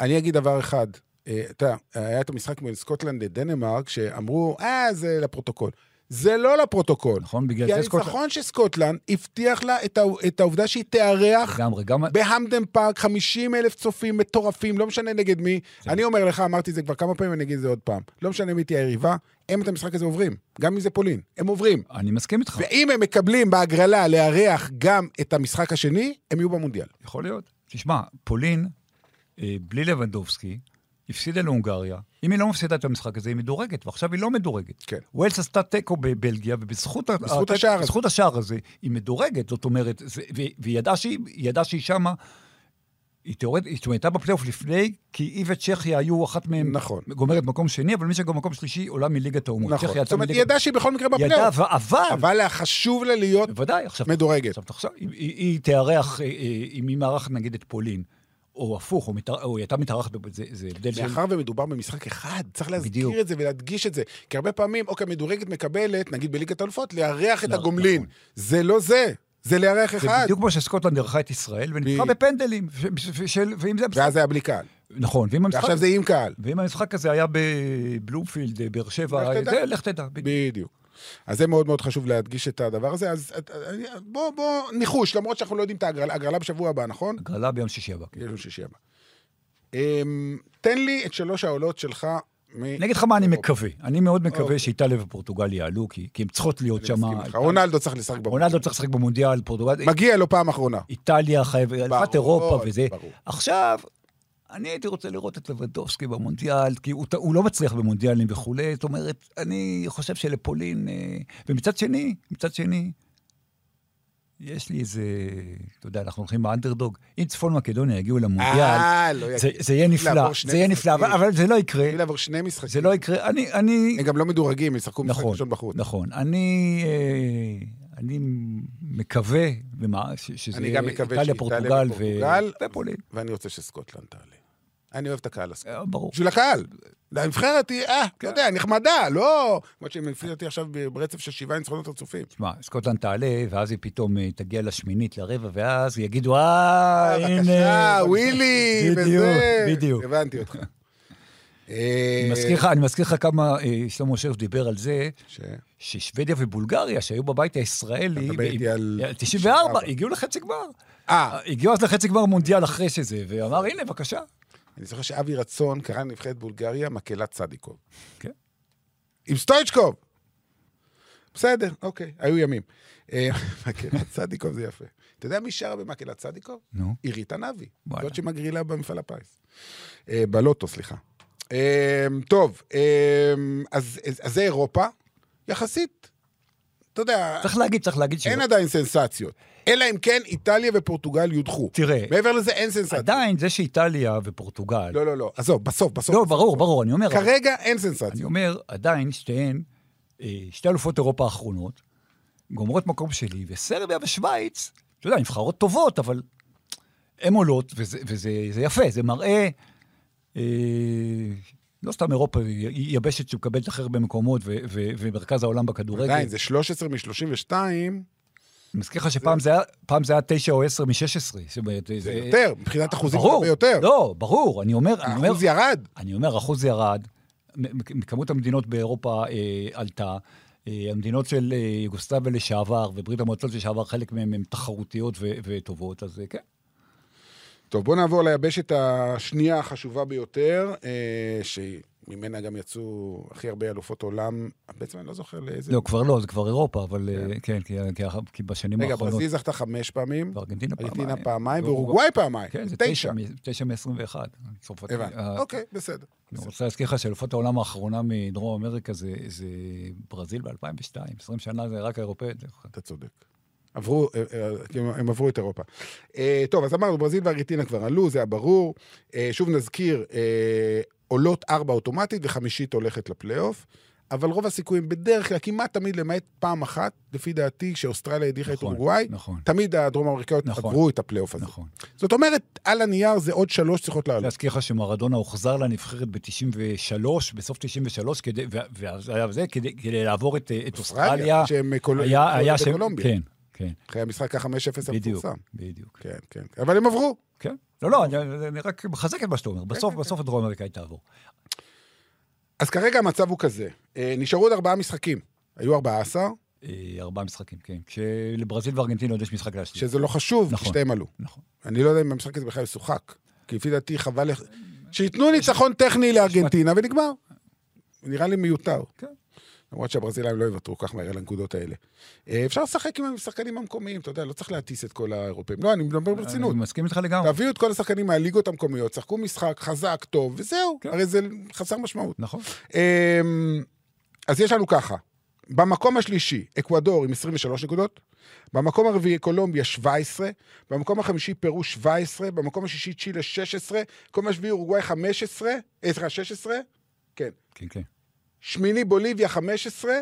Speaker 4: אני אגיד דבר אחד. אה, אתה יודע, היה את המשחק בין סקוטלנד לדנמרק, שאמרו, אה, זה לפרוטוקול. זה לא לפרוטוקול.
Speaker 5: נכון, בגלל
Speaker 4: כי
Speaker 5: זה סקוטלנד-
Speaker 4: הניצחון של סקוטלנד הבטיח לה את העו- את העובדה שהיא תארח
Speaker 5: לגמרי, גם...
Speaker 4: בהמדן פארק, 50 אלף צופים מטורפים, לא משנה נגד מי. אני
Speaker 5: נכון.
Speaker 4: אומר לך, אמרתי את זה כבר כמה פעמים, אני אגיד את זה עוד פעם. לא משנה מי תהיה היריבה, הם את המשחק הזה עוברים. גם אם זה פולין, הם עוברים.
Speaker 5: אני מסכים איתך.
Speaker 4: ואם הם מקבלים בהגרלה לארח גם את המשחק השני, הם יהיו במונדיאל.
Speaker 5: יכול להיות. תשמע, פולין, אה, בלי לבנדובסקי, הפסידה להונגריה. אם היא לא מפסידה את המשחק הזה, היא מדורגת, ועכשיו היא לא מדורגת.
Speaker 4: כן.
Speaker 5: ווילס עשתה תיקו בבלגיה, ובזכות ה-
Speaker 4: בזכות
Speaker 5: ה-
Speaker 4: השער הזה.
Speaker 5: בזכות השער הזה, היא מדורגת, זאת אומרת, זה, והיא, והיא ידעה שהיא, היא ידעה שהיא שמה. היא תיאורטית, זאת אומרת, הייתה בפלייאוף לפני, כי היא וצ'כיה היו אחת מהן
Speaker 4: נכון.
Speaker 5: גומרת מקום שני, אבל מי שגומר מקום שלישי עולה מליגת האומות. צ'כיה
Speaker 4: נכון.
Speaker 5: יצאה
Speaker 4: זאת אומרת, היא
Speaker 5: מליגת-
Speaker 4: ידעה שהיא בכל מקרה
Speaker 5: היא
Speaker 4: בפלייאוף.
Speaker 5: ידעה, אבל...
Speaker 4: אבל היה חשוב לה להיות
Speaker 5: בוודאי, עכשיו...
Speaker 4: מדורגת.
Speaker 5: עכשיו תחשוב, היא, היא, היא תארח, אה, אה, אם היא מארחת נגיד את פולין, או הפוך, או, מתאר, או היא הייתה מתארחת, בב- זה, זה הבדל של...
Speaker 4: מאחר ומדובר במשחק אחד, צריך
Speaker 5: בדיוק.
Speaker 4: להזכיר את זה ולהדגיש את זה. כי הרבה פעמים, אוקיי, מדורגת מקבלת, נגיד בליגת האלופות, לארח את
Speaker 5: לא,
Speaker 4: הגומלין.
Speaker 5: נכון.
Speaker 4: זה לא זה, זה לארח
Speaker 5: זה
Speaker 4: אחד.
Speaker 5: בדיוק כמו שסקוטלנד אירחה את ישראל, וניצחה
Speaker 4: ב-
Speaker 5: בפנדלים. ש, ש, ש, של, ואם זה...
Speaker 4: ואז זה היה בלי קהל.
Speaker 5: נכון, ואם המשחק...
Speaker 4: ועכשיו זה עם קהל.
Speaker 5: ואם המשחק הזה היה בבלומפילד, אה, באר שבע,
Speaker 4: לך תדע.
Speaker 5: זה, לך תדע. בדיוק.
Speaker 4: בדיוק. אז זה מאוד מאוד חשוב להדגיש את הדבר הזה. אז את- אני- בוא, בוא, ניחוש, למרות שאנחנו לא יודעים את ההגרלה. הגרלה בשבוע הבא, נכון?
Speaker 5: הגרלה ביום שישי הבא. כן.
Speaker 4: יש לנו שישי הבא. אמ, תן לי את שלוש העולות שלך. מ-
Speaker 5: אני אגיד לך מה אני
Speaker 4: אוקיי.
Speaker 5: מקווה. אני מאוד מקווה
Speaker 4: אוקיי.
Speaker 5: שאיטליה ופורטוגל יעלו, כי כי הן צריכות להיות
Speaker 4: אני
Speaker 5: שם.
Speaker 4: מסכים איתך. רונלדו צריך לשחק במונדיאל.
Speaker 5: רונלדו צריך לשחק במונדיאל, פורטוגל...
Speaker 4: מגיע לו פעם אחרונה.
Speaker 5: איטליה חייבת, אליפת אירופה וזה.
Speaker 4: ברור.
Speaker 5: עכשיו, אני הייתי רוצה לראות את לבדובסקי במונדיאל, כי הוא, ת- הוא לא מצליח במונדיאלים וכולי, זאת אומרת, אני חושב שלפולין... אה, ומצד שני, מצד שני, יש לי איזה, אתה יודע, אנחנו הולכים באנדרדוג, אם צפון מקדוניה יגיעו למונדיאל,
Speaker 4: אה, לא
Speaker 5: זה,
Speaker 4: יגיע.
Speaker 5: זה יהיה נפלא,
Speaker 4: לעבור שני
Speaker 5: זה יהיה נפלא, אבל,
Speaker 4: משחקים.
Speaker 5: אבל זה לא יקרה,
Speaker 4: בלי לעבור שני משחקים.
Speaker 5: זה לא יקרה, אני, אני,
Speaker 4: הם גם לא מדורגים, הם ישחקו משחק
Speaker 5: נכון,
Speaker 4: ראשון בחוץ.
Speaker 5: נכון, אני, אה, אני מקווה, ומה, ש- שזה
Speaker 4: אני גם מקווה
Speaker 5: איטליה,
Speaker 4: שאיטליה
Speaker 5: פורטוגל ו-
Speaker 4: ופורטוגל.
Speaker 5: ופולין,
Speaker 4: ואני רוצה שסקוטלנד תעלה. אני אוהב את הקהל הסקוטי.
Speaker 5: אה, כן. ברור.
Speaker 4: בשביל הקהל. הנבחרת היא, אה, אתה יודע, נחמדה, לא... למרות שהם הפסידו אותי עכשיו ברצף של שבעה ניצחונות רצופים.
Speaker 5: תשמע, סקוטלנד תעלה, ואז היא פתאום אה, תגיע לשמינית, לרבע, ואז יגידו, אה, הנה.
Speaker 4: בבקשה, ווילי, וזה...
Speaker 5: בדיוק, בדיוק.
Speaker 4: הבנתי אותך.
Speaker 5: אני מזכיר לך- אני מזכיר לך כמה אה, שלמה שרף דיבר על זה,
Speaker 4: אה, ש...
Speaker 5: ששוודיה ובולגריה, שהיו בבית הישראלי,
Speaker 4: אתה מדבר איתי על-
Speaker 5: 94,
Speaker 4: 94.
Speaker 5: הגיעו לחצי גמר.
Speaker 4: אה,
Speaker 5: הגיעו אז לחצי גמר מונדיאל אחרי שזה, ואמר, הנה, בבקשה.
Speaker 4: אני זוכר שאבי רצון קרא לנבחרת בולגריה מקהלת צדיקוב.
Speaker 5: כן.
Speaker 4: עם סטויצ'קוב. בסדר, אוקיי, היו ימים. אה, (laughs) מקהלת צדיקוב זה יפה. אתה יודע מי שרה במקהלת צדיקוב?
Speaker 5: נו.
Speaker 4: עירית ענבי,
Speaker 5: וואלה.
Speaker 4: זאת שמגרילה במפעל הפיס. אה, בלוטו, סליחה. אמ, טוב, אמ, אז אז זה אירופה, יחסית. אתה יודע,
Speaker 5: צריך להגיד, צריך להגיד ש...
Speaker 4: אין עדיין סנסציות. אלא אם כן איטליה ופורטוגל יודחו.
Speaker 5: תראה,
Speaker 4: מעבר לזה אין סנסציות.
Speaker 5: (laughs) עדיין זה שאיטליה ופורטוגל...
Speaker 4: לא, לא, לא. עזוב, בסוף, בסוף.
Speaker 5: לא, ברור, ברור, אני אומר... אבל-
Speaker 4: כרגע אין
Speaker 5: אני
Speaker 4: סנסציות.
Speaker 5: אומר, עדיין שתיהן, אה, שתי אלופות אירופה האחרונות, גומרות מקום שלי, וסרביה ושוויץ, אתה יודע, נבחרות טובות, אבל הן עולות, וזה, וזה זה יפה, זה מראה, אה, לא סתם אירופה, היא היא יבשת שמקבלת הכי הרבה מקומות, ו, ו, ומרכז העולם בכדורגל.
Speaker 4: עדיין, זה 13 מ-32,
Speaker 5: אני מזכיר לך שפעם זה היה- פעם זה היה 9 או 10 מ-16. זאת אומרת,
Speaker 4: זה יותר, מבחינת אחוזים זה
Speaker 5: אה, ברור,
Speaker 4: הרבה יותר.
Speaker 5: לא, ברור, אני אומר, אני אומר,
Speaker 4: האחוז ירד.
Speaker 5: אני אומר, אחוז ירד, מ- מ- כמות המדינות באירופה אה, עלתה, אה, המדינות של אה, יוגוסטביה לשעבר וברית המועצות לשעבר, חלק מהן הן תחרותיות ו- וטובות, אז אה, כן.
Speaker 4: טוב, בואו נעבור ליבשת השנייה החשובה ביותר, אה, שממנה גם יצאו הכי הרבה אלופות עולם. בעצם אני לא זוכר לאיזה...
Speaker 5: לא, כבר לא, זה כבר אירופה, אבל אה, כן, כי- כי ה- כי בשנים
Speaker 4: רגע,
Speaker 5: האחרונות...
Speaker 4: ברזיל זכתה חמש פעמים,
Speaker 5: וארגנטינה פעמיים.
Speaker 4: ארגנטינה פעמיים,
Speaker 5: ואורוגוואי-
Speaker 4: ואורוגוואי פעמיים.
Speaker 5: כן, זה
Speaker 4: תשע.
Speaker 5: תשע. מ- תשע מ-21. צרפתי.
Speaker 4: הבנתי.
Speaker 5: אה,
Speaker 4: אוקיי, בסדר.
Speaker 5: אני רוצה להזכיר לך שאלופת העולם האחרונה מדרום אמריקה זה זה ברזיל ב-2002. 20 שנה זה רק האירופאית.
Speaker 4: אתה צודק. עברו, אה, אה, כאילו, הם עברו את אירופה. אה, טוב, אז אמרנו, ברזיל וארגנטינה כבר עלו, זה היה ברור. אה, שוב נזכיר, אה, עולות ארבע אוטומטית וחמישית הולכת לפלייאוף, אבל רוב הסיכויים, בדרך כלל, כמעט תמיד, למעט פעם אחת, לפי דעתי, שאוסטרליה הדיחה את
Speaker 5: נכון,
Speaker 4: אורוגוואי,
Speaker 5: נכון.
Speaker 4: תמיד הדרום אמריקאיות
Speaker 5: נכון.
Speaker 4: עברו את הפלייאוף הזה.
Speaker 5: נכון.
Speaker 4: זאת אומרת, על הנייר זה עוד שלוש צריכות לעלות.
Speaker 5: להזכיר לך שמרדונה הוחזר לנבחרת ב-93, בסוף 93, כדי, וה- וה- היה זה, כדי, כדי לעבור את, אה, את
Speaker 4: אוסטרליה,
Speaker 5: אוסטרליה.
Speaker 4: שהם קול-
Speaker 5: היה, היה
Speaker 4: קולומביה.
Speaker 5: שם, כן, כן,
Speaker 4: אחרי המשחק ה-5-0
Speaker 5: בדיוק,
Speaker 4: המפורסם.
Speaker 5: בדיוק.
Speaker 4: כן, כן. אבל הם עברו.
Speaker 5: כן. לא, לא, אני, אני רק מחזק את מה שאתה
Speaker 4: כן,
Speaker 5: אומר. בסוף, בסוף הדרום אמריקאית תעבור.
Speaker 4: אז כרגע המצב הוא כזה, אה, נשארו עוד ארבעה משחקים. היו 14,
Speaker 5: אה, ארבעה משחקים, כן. כשלברזיל וארגנטינה עוד יש משחק להשלים.
Speaker 4: שזה לא חשוב, כי
Speaker 5: נכון.
Speaker 4: שתיהם עלו.
Speaker 5: נכון.
Speaker 4: אני לא יודע אם המשחק הזה בכלל ישוחק. כי לפי דעתי חבל... לך-
Speaker 5: אה,
Speaker 4: שייתנו ניצחון טכני לארגנטינה ונגמר. נראה לי מיותר.
Speaker 5: כן.
Speaker 4: למרות שהברזילאים לא יוותרו כך מהר על הנקודות האלה. אה, אפשר לשחק עם השחקנים המקומיים, אתה יודע, לא צריך להטיס את כל האירופאים. לא, אני מדבר ברצינות.
Speaker 5: אני מסכים איתך לגמרי.
Speaker 4: תביאו את כל השחקנים מהליגות המקומיות, שחקו משחק חזק, טוב, וזהו.
Speaker 5: כן.
Speaker 4: הרי זה חסר משמעות.
Speaker 5: נכון.
Speaker 4: אמ, אז יש לנו ככה, במקום השלישי, אקוודור עם 23 נקודות, במקום הרביעי, קולומביה 17, במקום החמישי, פרו 17, במקום השישי, צ'ילה 16, במקום השביעי, אורוגוואי 15, אה, סליחה, 16, כן,
Speaker 5: כן, כן.
Speaker 4: שמיני, בוליביה 15,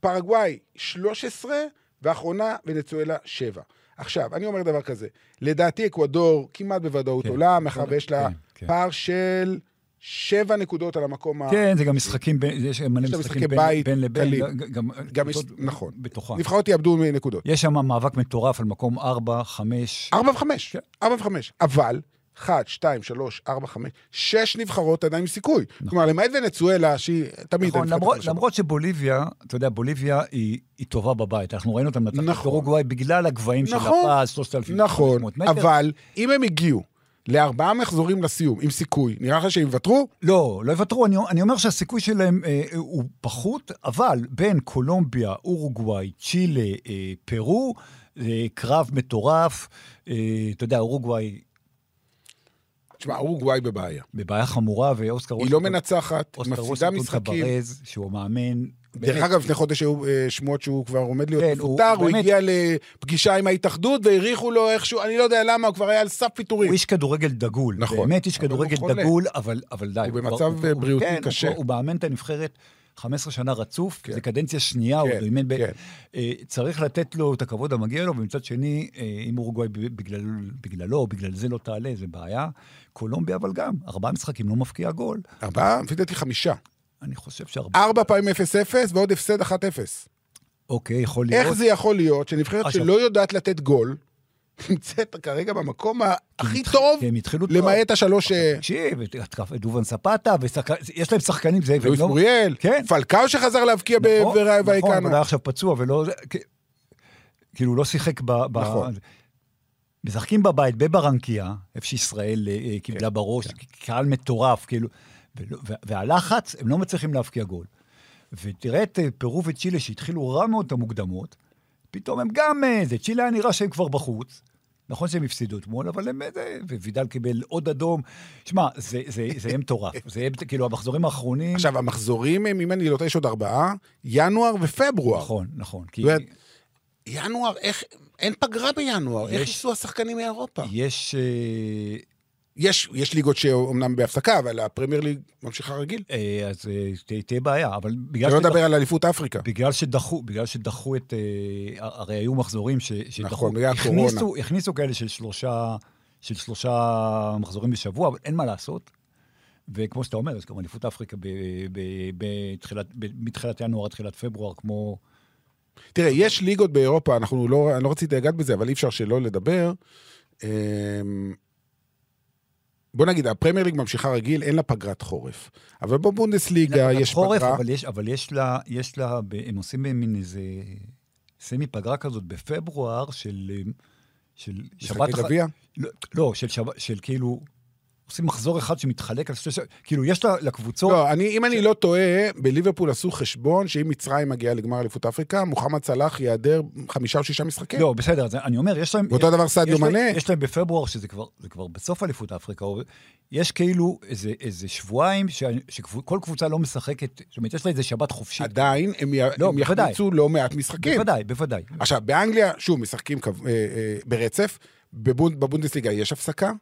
Speaker 4: פרגוואי 13, ואחרונה, ונצואלה 7. עכשיו, אני אומר דבר כזה, לדעתי אקוודור כמעט בוודאות
Speaker 5: כן,
Speaker 4: עולה, מאחר ויש לה
Speaker 5: כן, כן.
Speaker 4: פער של 7 נקודות על המקום ה...
Speaker 5: כן, זה גם משחקים בין, יש מלא
Speaker 4: יש להם אה, משחקי
Speaker 5: משחקים בין,
Speaker 4: בית
Speaker 5: בין לבין.
Speaker 4: קלים.
Speaker 5: לא, גם,
Speaker 4: גם יש,
Speaker 5: קבוצות
Speaker 4: נכון.
Speaker 5: בתוכה.
Speaker 4: נבחרות יאבדו נקודות.
Speaker 5: יש שם מאבק מטורף על מקום 4, 5.
Speaker 4: ארבע וחמש,
Speaker 5: כן.
Speaker 4: ארבע וחמש. אבל, אחת, שתיים, שלוש, ארבע, חמש, שש נבחרות עדיין עם סיכוי. כלומר, למעט ונצואלה, שהיא תמיד...
Speaker 5: נכון,
Speaker 4: הנבחרת
Speaker 5: למרות,
Speaker 4: החלשה.
Speaker 5: למרות שבוליביה, אתה יודע, בוליביה היא, היא טובה בבית. אנחנו ראינו אותה מנצחת
Speaker 4: נכון.
Speaker 5: נכון. אורוגוואי בגלל הגבהים
Speaker 4: נכון.
Speaker 5: של הפעס, 3,500
Speaker 4: נכון,
Speaker 5: מטר.
Speaker 4: אבל אם הם הגיעו לארבעה מחזורים לסיום עם סיכוי, נראה לך שהם יוותרו?
Speaker 5: לא, לא יוותרו, אני, אני אומר שהסיכוי שלהם אה, הוא פחות, אבל בין קולומביה, אורוגוואי, צ'ילה, אה, פרו, אה, קרב מטורף. אה, אתה יודע, אורוגוואי
Speaker 4: תשמע, אורוגוואי בבעיה.
Speaker 5: בבעיה חמורה, ואוסקר
Speaker 4: היא לא מנצחת, היא
Speaker 5: אוסקר
Speaker 4: מפסידה
Speaker 5: וושינגטון
Speaker 4: משחקים.
Speaker 5: קברז, שהוא המאמן.
Speaker 4: דרך
Speaker 5: באמת,
Speaker 4: אגב, לפני חודש היו אה, שמועות שהוא כבר עומד להיות
Speaker 5: כן, הוא-
Speaker 4: מפוטר, הוא
Speaker 5: באמת.
Speaker 4: הגיע לפגישה עם ההתאחדות והעריכו לו איכשהו, אני לא יודע למה, הוא כבר היה על סף פיטורים.
Speaker 5: הוא איש כדורגל דגול.
Speaker 4: נכון.
Speaker 5: באמת איש
Speaker 4: אבל הוא
Speaker 5: כדורגל
Speaker 4: חולה.
Speaker 5: דגול, אבל, אבל די.
Speaker 4: הוא
Speaker 5: כבר-
Speaker 4: במצב,
Speaker 5: הוא-
Speaker 4: אה,
Speaker 5: הוא-
Speaker 4: בריאותי
Speaker 5: כן, הוא
Speaker 4: קשה.
Speaker 5: כבר- הוא מאמן את הנבחרת 15 שנה רצוף,
Speaker 4: כן.
Speaker 5: זו קדנציה שנייה, הוא
Speaker 4: כן,
Speaker 5: עוד אימן ב...
Speaker 4: כן.
Speaker 5: אה, צריך לתת לו את הכבוד המגיע לו, ומצד שני, אה, אם אורוגוואי ב- בגלל, בגללו, בגלל זה לא תעלה, זה בעיה. קולומביה, אבל גם, ארבעה משחקים לא מפקיע גול.
Speaker 4: ארבעה? לפי דעתי חמישה.
Speaker 5: אני חושב שארבעה...
Speaker 4: ארבע פעמים 0-0 ועוד הפסד 1-0.
Speaker 5: אוקיי, יכול להיות.
Speaker 4: איך זה יכול להיות שנבחרת
Speaker 5: עכשיו-
Speaker 4: שלא יודעת לתת גול, (laughs) נמצאת כרגע במקום
Speaker 5: כן,
Speaker 4: הכי טוב,
Speaker 5: כי הם התחילו טוב.
Speaker 4: למעט השלוש... אה,
Speaker 5: תקשיב, את- התקף- את דובן ספטה, ושחק- יש להם שחקנים, זה...
Speaker 4: לואיס
Speaker 5: והם לא-
Speaker 4: מוריאל,
Speaker 5: כן.
Speaker 4: פלקאו שחזר להבקיע
Speaker 5: נכון, נכון,
Speaker 4: בוואיקנו.
Speaker 5: אבל היה עכשיו פצוע ולא... כ- כאילו, לא שיחק ב... ב-
Speaker 4: נכון.
Speaker 5: משחקים בבית, בברנקיה, איפה שישראל אה,
Speaker 4: כן,
Speaker 5: אה, קיבלה בראש, קהל מטורף, כאילו... ולא- וה- והלחץ, הם לא מצליחים להבקיע גול. ותראה את אה, פרו וצ'ילה שהתחילו רע מאוד את המוקדמות, פתאום הם גם... אה, זה צ'ילה היה נראה שהם כבר בחוץ. נכון שהם הפסידו אתמול, אבל הם... אה, זה- ווידל קיבל עוד אדום. שמע, זה- זה זה יהיה מטורף. זה יהיה, כאילו, המחזורים האחרונים...
Speaker 4: עכשיו, המחזורים הם, אם אני לא טועה, יש עוד ארבעה, ינואר ופברואר.
Speaker 5: נכון, נכון. כי
Speaker 4: זאת אומרת, ינואר, איך... אין פגרה בינואר, איך
Speaker 5: יש-
Speaker 4: ייסעו השחקנים מאירופה?
Speaker 5: יש... אה,
Speaker 4: יש, יש ליגות שאומנם בהפסקה, אבל הפרמייר ליג ממשיכה רגיל.
Speaker 5: אה, אז אה, תה- תהיה בעיה, אבל בגלל
Speaker 4: שלא
Speaker 5: שדחו-
Speaker 4: לדבר על אליפות אפריקה.
Speaker 5: בגלל שדחו, בגלל שדחו את... אה, הרי היו מחזורים ש, שדחו.
Speaker 4: נכון, בגלל הקורונה.
Speaker 5: הכניסו, הכניסו כאלה של שלושה, של שלושה מחזורים בשבוע, אבל אין מה לעשות. וכמו שאתה אומר, יש גם אליפות אפריקה ב, ב, בתחילת, ב, מתחילת ינואר עד תחילת פברואר, כמו...
Speaker 4: תראה, יש ליגות באירופה, אנחנו לא, אני לא רציתי לגעת בזה, אבל אי אפשר שלא לדבר. אמ, בוא נגיד, הפרמייר ליג ממשיכה רגיל, אין לה פגרת חורף. אבל בבונדסליגה אה, יש
Speaker 5: חורף,
Speaker 4: פגרה.
Speaker 5: אבל יש, אבל יש לה, יש לה, ב- הם עושים מין איזה סמי פגרה כזאת בפברואר של, אה, של שבת
Speaker 4: משחקי
Speaker 5: אחת-
Speaker 4: גביע?
Speaker 5: לא, לא, של שבת, של כאילו, עושים מחזור אחד שמתחלק על שתי ש... כאילו, יש לה- לקבוצות...
Speaker 4: לא, אני, אם אני לא טועה, בליברפול עשו חשבון שאם מצרים מגיעה לגמר אליפות אפריקה, מוחמד סלאח ייעדר חמישה או שישה משחקים.
Speaker 5: לא, בסדר, אז אני אומר, יש להם...
Speaker 4: כן. ואותו
Speaker 5: יש-
Speaker 4: דבר סעדיו
Speaker 5: יש להם-
Speaker 4: מנה.
Speaker 5: יש להם בפברואר, שזה כבר, זה כבר בסוף אליפות אפריקה, או- יש כאילו איזה, איזה שבועיים ש- שכל קבוצה לא משחקת, זאת אומרת, יש לה איזה שבת חופשית.
Speaker 4: עדיין הם, י...
Speaker 5: לא,
Speaker 4: הם
Speaker 5: בוודאי.
Speaker 4: יחמיצו לא מעט משחקים.
Speaker 5: בוודאי, בוודאי.
Speaker 4: עכשיו, באנגליה, שוב, משחקים כב- אה, אה, ברצף, בבונ- בבונדסליגה יש הפסקה.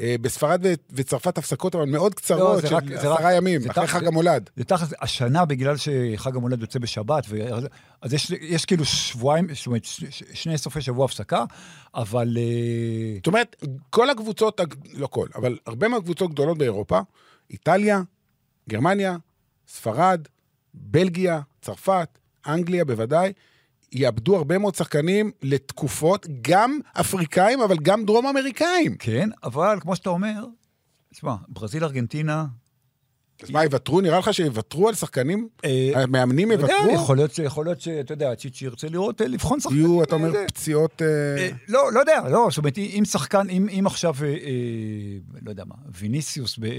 Speaker 4: אה, בספרד ו- וצרפת הפסקות, אבל מאוד קצרות,
Speaker 5: לא, זה
Speaker 4: של
Speaker 5: רק- זה
Speaker 4: עשרה
Speaker 5: רק-
Speaker 4: ימים,
Speaker 5: זה
Speaker 4: אחרי
Speaker 5: תח-
Speaker 4: חג המולד.
Speaker 5: זה תכלס, השנה, בגלל שחג המולד יוצא בשבת, ו... אז- אז יש, יש כאילו שבועיים, זאת אומרת, ש- ש- שני סופי שבוע הפסקה, אבל... אה,
Speaker 4: זאת אומרת, כל הקבוצות, הג- לא כל, אבל הרבה מהקבוצות גדולות באירופה, איטליה, גרמניה, ספרד, בלגיה, צרפת, אנגליה בוודאי, יאבדו הרבה מאוד שחקנים לתקופות, גם אפריקאים, אבל גם דרום אמריקאים.
Speaker 5: כן, אבל כמו שאתה אומר, תשמע, ברזיל, ארגנטינה...
Speaker 4: אז מה, יוותרו? נראה לך שיוותרו על שחקנים?
Speaker 5: אה,
Speaker 4: המאמנים
Speaker 5: אתה יודע,
Speaker 4: יוותרו?
Speaker 5: יכול להיות ש- יכול להיות שאתה יודע, צ'יצ'י ירצה לראות, אה, לבחון שחקנים.
Speaker 4: יהיו, אתה
Speaker 5: אה,
Speaker 4: אומר, פציעות... אה,
Speaker 5: אה, לא, לא יודע, לא, זאת אומרת, אם שחקן, אם אם עכשיו, אה, אה, לא יודע מה, ויניסיוס, ב- אה,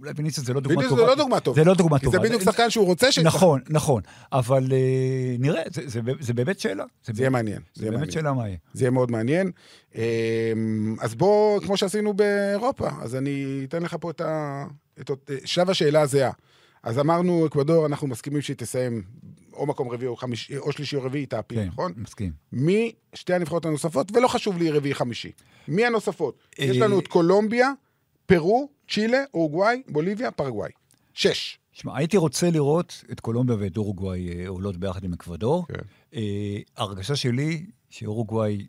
Speaker 5: אולי ויניסיוס זה לא דוגמה
Speaker 4: בדיוק
Speaker 5: טובה.
Speaker 4: זה לא דוגמה טובה.
Speaker 5: זה לא דוגמה
Speaker 4: כי
Speaker 5: טובה.
Speaker 4: זה בדיוק
Speaker 5: אם-
Speaker 4: שחקן שהוא רוצה ש...
Speaker 5: נכון, נכון, אבל אה, נראה, זה- זה ב- זה באמת שאלה.
Speaker 4: זה יהיה מעניין. זה
Speaker 5: זה
Speaker 4: יהיה
Speaker 5: באמת
Speaker 4: מעניין.
Speaker 5: שאלה מה יהיה.
Speaker 4: זה יהיה מאוד מעניין. אמ, אז בוא, כמו שעשינו באירופה, אז אני אתן לך פה את ה... את אות- אה, שלב השאלה הזהה. אז אמרנו, אקוודור, אנחנו מסכימים שהיא תסיים או מקום רביעי או, חמיש, או שלישי או רביעי, תעפיל,
Speaker 5: כן,
Speaker 4: נכון?
Speaker 5: מסכים.
Speaker 4: מי שתי הנבחרות הנוספות, ולא חשוב לי רביעי חמישי. מי הנוספות?
Speaker 5: אה,
Speaker 4: יש לנו את קולומביה, פרו, צ'ילה, אורוגוואי, בוליביה, פרגוואי. שש.
Speaker 5: שמע, הייתי רוצה לראות את קולומביה ואת אורוגוואי אה, עולות ביחד עם אקוודור.
Speaker 4: כן.
Speaker 5: אה, ההרגשה שלי, שאורוגוואי,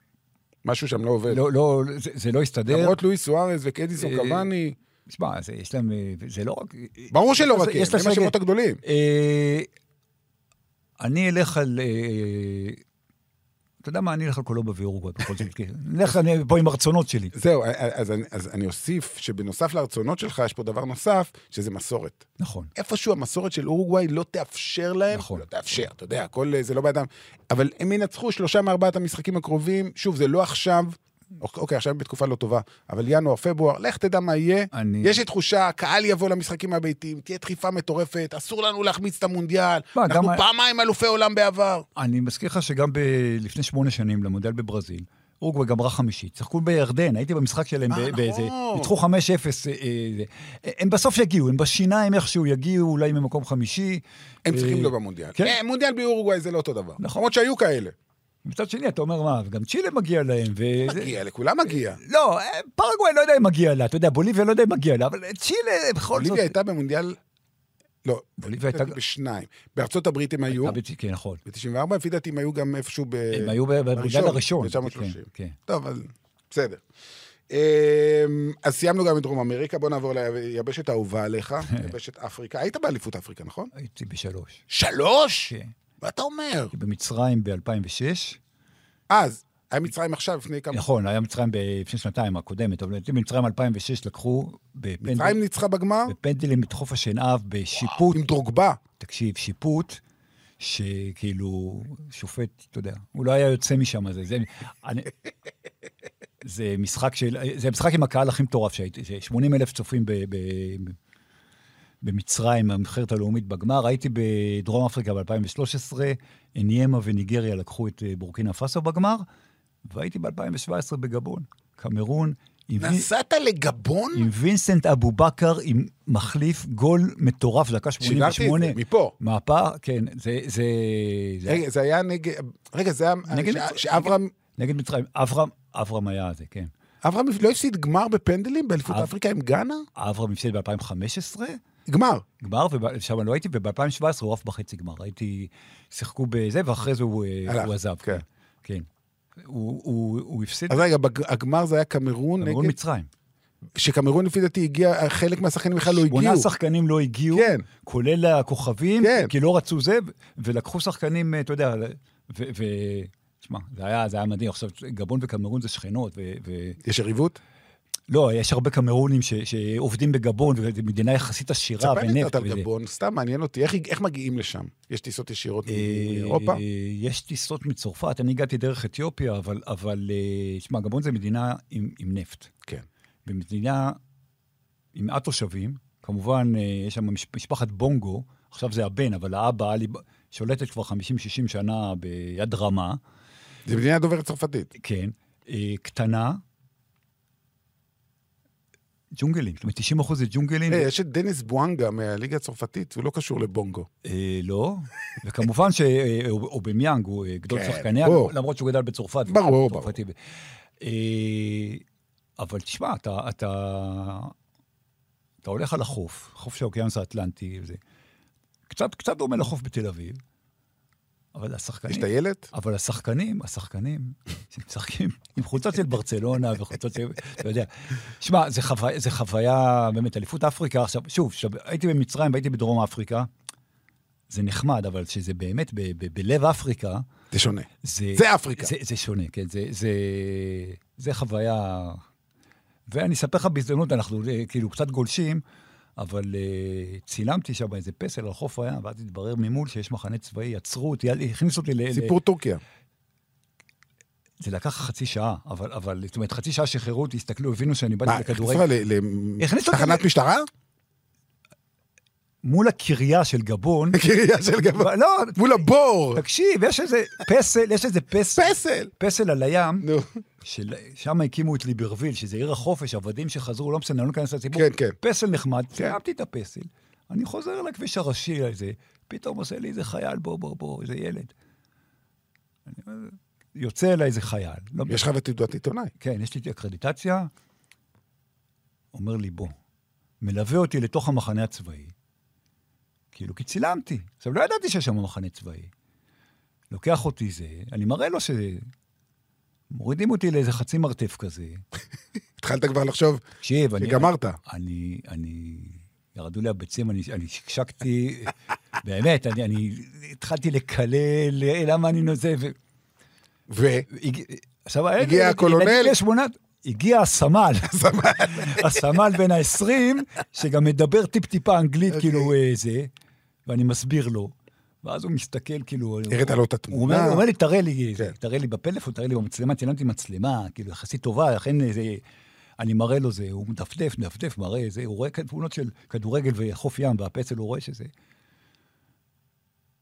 Speaker 4: משהו שם לא עובד.
Speaker 5: לא, לא, זה- זה לא יסתדר.
Speaker 4: למרות לואיס סוארז וקדיסון
Speaker 5: אה,
Speaker 4: קוואני,
Speaker 5: תשמע, זה- יש להם, אה, זה לא רק...
Speaker 4: ברור שלא
Speaker 5: יש-
Speaker 4: רק
Speaker 5: יש
Speaker 4: הם,
Speaker 5: לה
Speaker 4: הם השמות
Speaker 5: סגל.
Speaker 4: הגדולים.
Speaker 5: אה, אני אלך על... אה, אתה יודע מה, אני אלך על קולומביה ואורוגוואי בכל זאת. (laughs) כי- אני אלך אני פה עם הרצונות שלי.
Speaker 4: זהו, אז אני, אז אני אוסיף שבנוסף לרצונות שלך, יש פה דבר נוסף, שזה מסורת.
Speaker 5: נכון.
Speaker 4: איפשהו המסורת של אורוגוואי לא תאפשר להם,
Speaker 5: נכון.
Speaker 4: לא תאפשר, אתה יודע, הכל אה, זה לא בידם, אבל הם ינצחו שלושה מארבעת המשחקים הקרובים, שוב, זה לא עכשיו, אוק- אוקיי, עכשיו הם בתקופה לא טובה, אבל ינואר, פברואר, לך תדע מה יהיה.
Speaker 5: אני...
Speaker 4: יש לי תחושה, הקהל יבוא למשחקים הביתיים, תהיה דחיפה מטורפת, אסור לנו להחמיץ את המונדיאל,
Speaker 5: מה,
Speaker 4: אנחנו
Speaker 5: גם ה-
Speaker 4: פעמיים אלופי עולם בעבר.
Speaker 5: אני מזכיר לך שגם ב... לפני שמונה שנים, למודל בברזיל, אורוגוואי גמרה חמישית, שיחקו בירדן, הייתי במשחק שלהם
Speaker 4: אה,
Speaker 5: ב- באיזה...
Speaker 4: נכון.
Speaker 5: ניצחו 5-0. אה, אה, אה, הם בסוף יגיעו, הם בשיניים איכשהו יגיעו, אולי ממקום חמישי.
Speaker 4: הם צריכים
Speaker 5: אה,
Speaker 4: לא במונדיאל.
Speaker 5: כן.
Speaker 4: אה, מונדיאל באורוגוואי זה לא אותו דבר.
Speaker 5: נכון.
Speaker 4: למרות שהיו כאלה.
Speaker 5: מצד שני, אתה אומר, מה, גם צ'ילה מגיע להם, וזה-
Speaker 4: מגיע, לכולם מגיע.
Speaker 5: לא, אה, פרגוואי לא יודע אם מגיע לה, אתה יודע, בוליביה לא יודע אם מגיע לה, אבל אה, צ'ילה בכל זאת...
Speaker 4: בוליביה הייתה במונדיאל... לא,
Speaker 5: בוליביה הייתה...
Speaker 4: בשניים. בארצות הברית הם היו,
Speaker 5: הייתה בצ- כן, נכון.
Speaker 4: ב-94, לפי דעתי הם היו גם איפשהו ב...
Speaker 5: הם היו ב- במונדיאל הראשון.
Speaker 4: ב-1930.
Speaker 5: כן, כן.
Speaker 4: טוב, אז בסדר. אמ, אז סיימנו גם את דרום אמריקה, בוא נעבור ליבשת האהובה
Speaker 5: (laughs)
Speaker 4: עליך, יבשת אפריקה. היית באליפות אפריקה, נכון?
Speaker 5: הייתי בשלוש.
Speaker 4: שלוש?
Speaker 5: כן.
Speaker 4: מה אתה אומר?
Speaker 5: הייתי במצרים ב-2006.
Speaker 4: אז, היה מצרים עכשיו, לפני כמה...
Speaker 5: נכון, היה מצרים לפני שנתיים הקודמת, אבל לדעתי מצרים 2006 לקחו בפנדל-
Speaker 4: מצרים ניצחה בגמר
Speaker 5: בפנדלים את חוף השנהב בשיפוט,
Speaker 4: עם דרוגבה.
Speaker 5: תקשיב, שיפוט, שכאילו, שופט, אתה יודע, הוא לא היה יוצא משם, זה, זה, אני, זה משחק של, זה משחק עם הקהל הכי מטורף שהייתי, ש- 80 אלף צופים ב, ב, במצרים, המבחרת הלאומית בגמר, הייתי בדרום אפריקה ב-2013, ניימה וניגריה לקחו את אה, בורקינה פאסו בגמר, והייתי ב-2017 בגבון, קמרון, עם, וין-
Speaker 4: נסעת לגבון?
Speaker 5: עם וינסנט אבו בכר, עם מחליף גול מטורף, דקה
Speaker 4: שידרתי
Speaker 5: 88.
Speaker 4: את זה, מפה.
Speaker 5: מהפער, כן, זה... זה, זה
Speaker 4: רגע, זה היה נגד... רגע, זה היה...
Speaker 5: נגד-
Speaker 4: ש- שאברהם...
Speaker 5: נגד מצרים, אברהם, אברהם היה זה, כן.
Speaker 4: אברהם לא הפסיד גמר בפנדלים באליפות
Speaker 5: אב-
Speaker 4: אפריקה עם גאנה?
Speaker 5: אברהם הפסיד ב-2015,
Speaker 4: גמר.
Speaker 5: גמר, ושם לא הייתי, וב-2017 הוא עף בחצי גמר. הייתי, שיחקו בזה, ואחרי זה הוא, אה,
Speaker 4: הלך,
Speaker 5: הוא עזב.
Speaker 4: כן.
Speaker 5: כן. כן. הוא, הוא, הוא הפסיד
Speaker 4: אז רגע, בג- הגמר זה היה קמרון
Speaker 5: למרון
Speaker 4: נגד...
Speaker 5: מצרים.
Speaker 4: שקמרון לפי דעתי הגיע, חלק מהשחקנים בכלל לא הגיעו.
Speaker 5: שמונה שחקנים לא הגיעו,
Speaker 4: כן.
Speaker 5: כולל הכוכבים,
Speaker 4: כן.
Speaker 5: כי לא רצו זה, ו- ולקחו שחקנים, אה, אתה יודע, ו... ו תשמע, זה היה, זה היה מדהים. עכשיו, גבון וקמרון זה שכנות, ו... ו
Speaker 4: יש יריבות?
Speaker 5: לא, יש הרבה קמרונים ש, שעובדים בגבון, וזו מדינה יחסית עשירה
Speaker 4: ספר לי
Speaker 5: ונפט.
Speaker 4: קצת על
Speaker 5: וזה.
Speaker 4: גבון, סתם מעניין אותי, איך- איך מגיעים לשם? יש טיסות ישירות מאירופה?
Speaker 5: אה, יש טיסות מצרפת, אני הגעתי דרך אתיופיה, אבל, אבל אה, שמע, גבון זה מדינה עם, עם נפט.
Speaker 4: כן.
Speaker 5: במדינה עם מעט תושבים, כמובן, אה, יש שם מש- משפחת בונגו, עכשיו זה הבן, אבל האבא עלי, ב- שולטת כבר 50-60 שנה ביד רמה,
Speaker 4: זו מדינה דוברת צרפתית.
Speaker 5: כן, אה, קטנה, ג'ונגלים, זאת אומרת, 90 אחוז זה ג'ונגלים.
Speaker 4: אה, יש את דניס בואנגה מהליגה הצרפתית, הוא לא קשור לבונגו.
Speaker 5: אה, לא, וכמובן שאובמיאנג הוא אה, גדול
Speaker 4: כן,
Speaker 5: שחקני,
Speaker 4: ברור.
Speaker 5: למרות שהוא גדל בצרפת.
Speaker 4: ברור, ברור.
Speaker 5: צרפתי. אה, אבל תשמע, אתה, אתה, אתה הולך על החוף, חוף של האוקיינוס האטלנטי, וזה קצת, קצת דומה לחוף בתל אביב, אבל
Speaker 4: יש
Speaker 5: השחקנים,
Speaker 4: טיילת?
Speaker 5: אבל השחקנים, השחקנים, שמשחקים עם חולצות של ברצלונה וחולצות של... אתה יודע. שמע, זה, חוו... זה חוויה, באמת, אליפות אפריקה. עכשיו, שוב, עכשיו, הייתי במצרים והייתי בדרום אפריקה, זה נחמד, אבל שזה באמת ב... ב... בלב אפריקה,
Speaker 4: זה שונה.
Speaker 5: זה...
Speaker 4: זה אפריקה.
Speaker 5: זה, זה שונה, כן, זה, זה, זה חוויה... ואני אספר לך בהזדמנות, אנחנו אה, כאילו קצת גולשים, אבל אה, צילמתי שם איזה פסל על חוף הים, ואז התברר ממול שיש מחנה צבאי, עצרו אותי, הכניסו אותי ל...
Speaker 4: סיפור טורקיה.
Speaker 5: זה לקח חצי שעה, אבל, אבל, זאת אומרת, חצי שעה שחררו אותי, הסתכלו, הבינו שאני באתי
Speaker 4: מה, הכניסו
Speaker 5: לכדורגל.
Speaker 4: אותך ל- ל-
Speaker 5: הכניסו אותי
Speaker 4: תחנת
Speaker 5: ל-
Speaker 4: משטרה?
Speaker 5: מול הקריה של גבון,
Speaker 4: קריה של גבון.
Speaker 5: לא,
Speaker 4: מול הבור!
Speaker 5: תקשיב, יש איזה פסל, יש איזה פסל,
Speaker 4: פסל!
Speaker 5: פסל על הים,
Speaker 4: נו.
Speaker 5: של- שם הקימו את ליברוויל, שזה עיר החופש, עבדים שחזרו, לא משנה, אני לא ניכנס לסיפור.
Speaker 4: כן, כן.
Speaker 5: פסל נחמד, סיימתי את הפסל, אני חוזר לכביש הראשי הזה, פתאום עושה לי איזה חייל, בוא, בוא, בוא, איזה ילד. אני אומר, יוצא אליי איזה חייל. לא
Speaker 4: יש לך ותעודת עיתונאי.
Speaker 5: כן, יש לי אקרדיטציה. אומר לי, בוא, מלווה אותי לתוך המחנה הצבאי. כאילו, כי צילמתי. עכשיו, לא ידעתי שיש שם מחנה צבאי. לוקח אותי זה, אני מראה לו ש... מורידים אותי לאיזה חצי מרתף כזה.
Speaker 4: התחלת כבר לחשוב
Speaker 5: תקשיב, אני...
Speaker 4: שגמרת.
Speaker 5: אני, אני, ירדו לי הביצים, אני, אני שקשקתי, (laughs) באמת, אני, אני התחלתי לקלל, "אה, למה אני נוזב.
Speaker 4: ו...
Speaker 5: הגיע- עכשיו, הילד-
Speaker 4: הגיע
Speaker 5: ילד-
Speaker 4: הקולונל?
Speaker 5: ילדים בני שמונה- הגיע הסמל,
Speaker 4: סבבה.
Speaker 5: הסמל בן ה-20, שגם מדבר טיפ-טיפה אנגלית,
Speaker 4: אוקיי.
Speaker 5: כאילו אה, זה, ואני מסביר לו. ואז הוא מסתכל, כאילו...
Speaker 4: הראת לו את
Speaker 5: הוא אומר,
Speaker 4: התמונה.
Speaker 5: הוא אומר לי, תראה לי,
Speaker 4: אה. כן.
Speaker 5: תראה לי בפלאפון, תראה לי במצלמה, צילמתי מצלמה, כאילו, יחסית טובה, אכן זה... אני מראה לו זה, הוא מדפדף, מדפדף, מראה זה, הוא רואה כאן תמונות של כדורגל וחוף ים והפסל, הוא רואה שזה.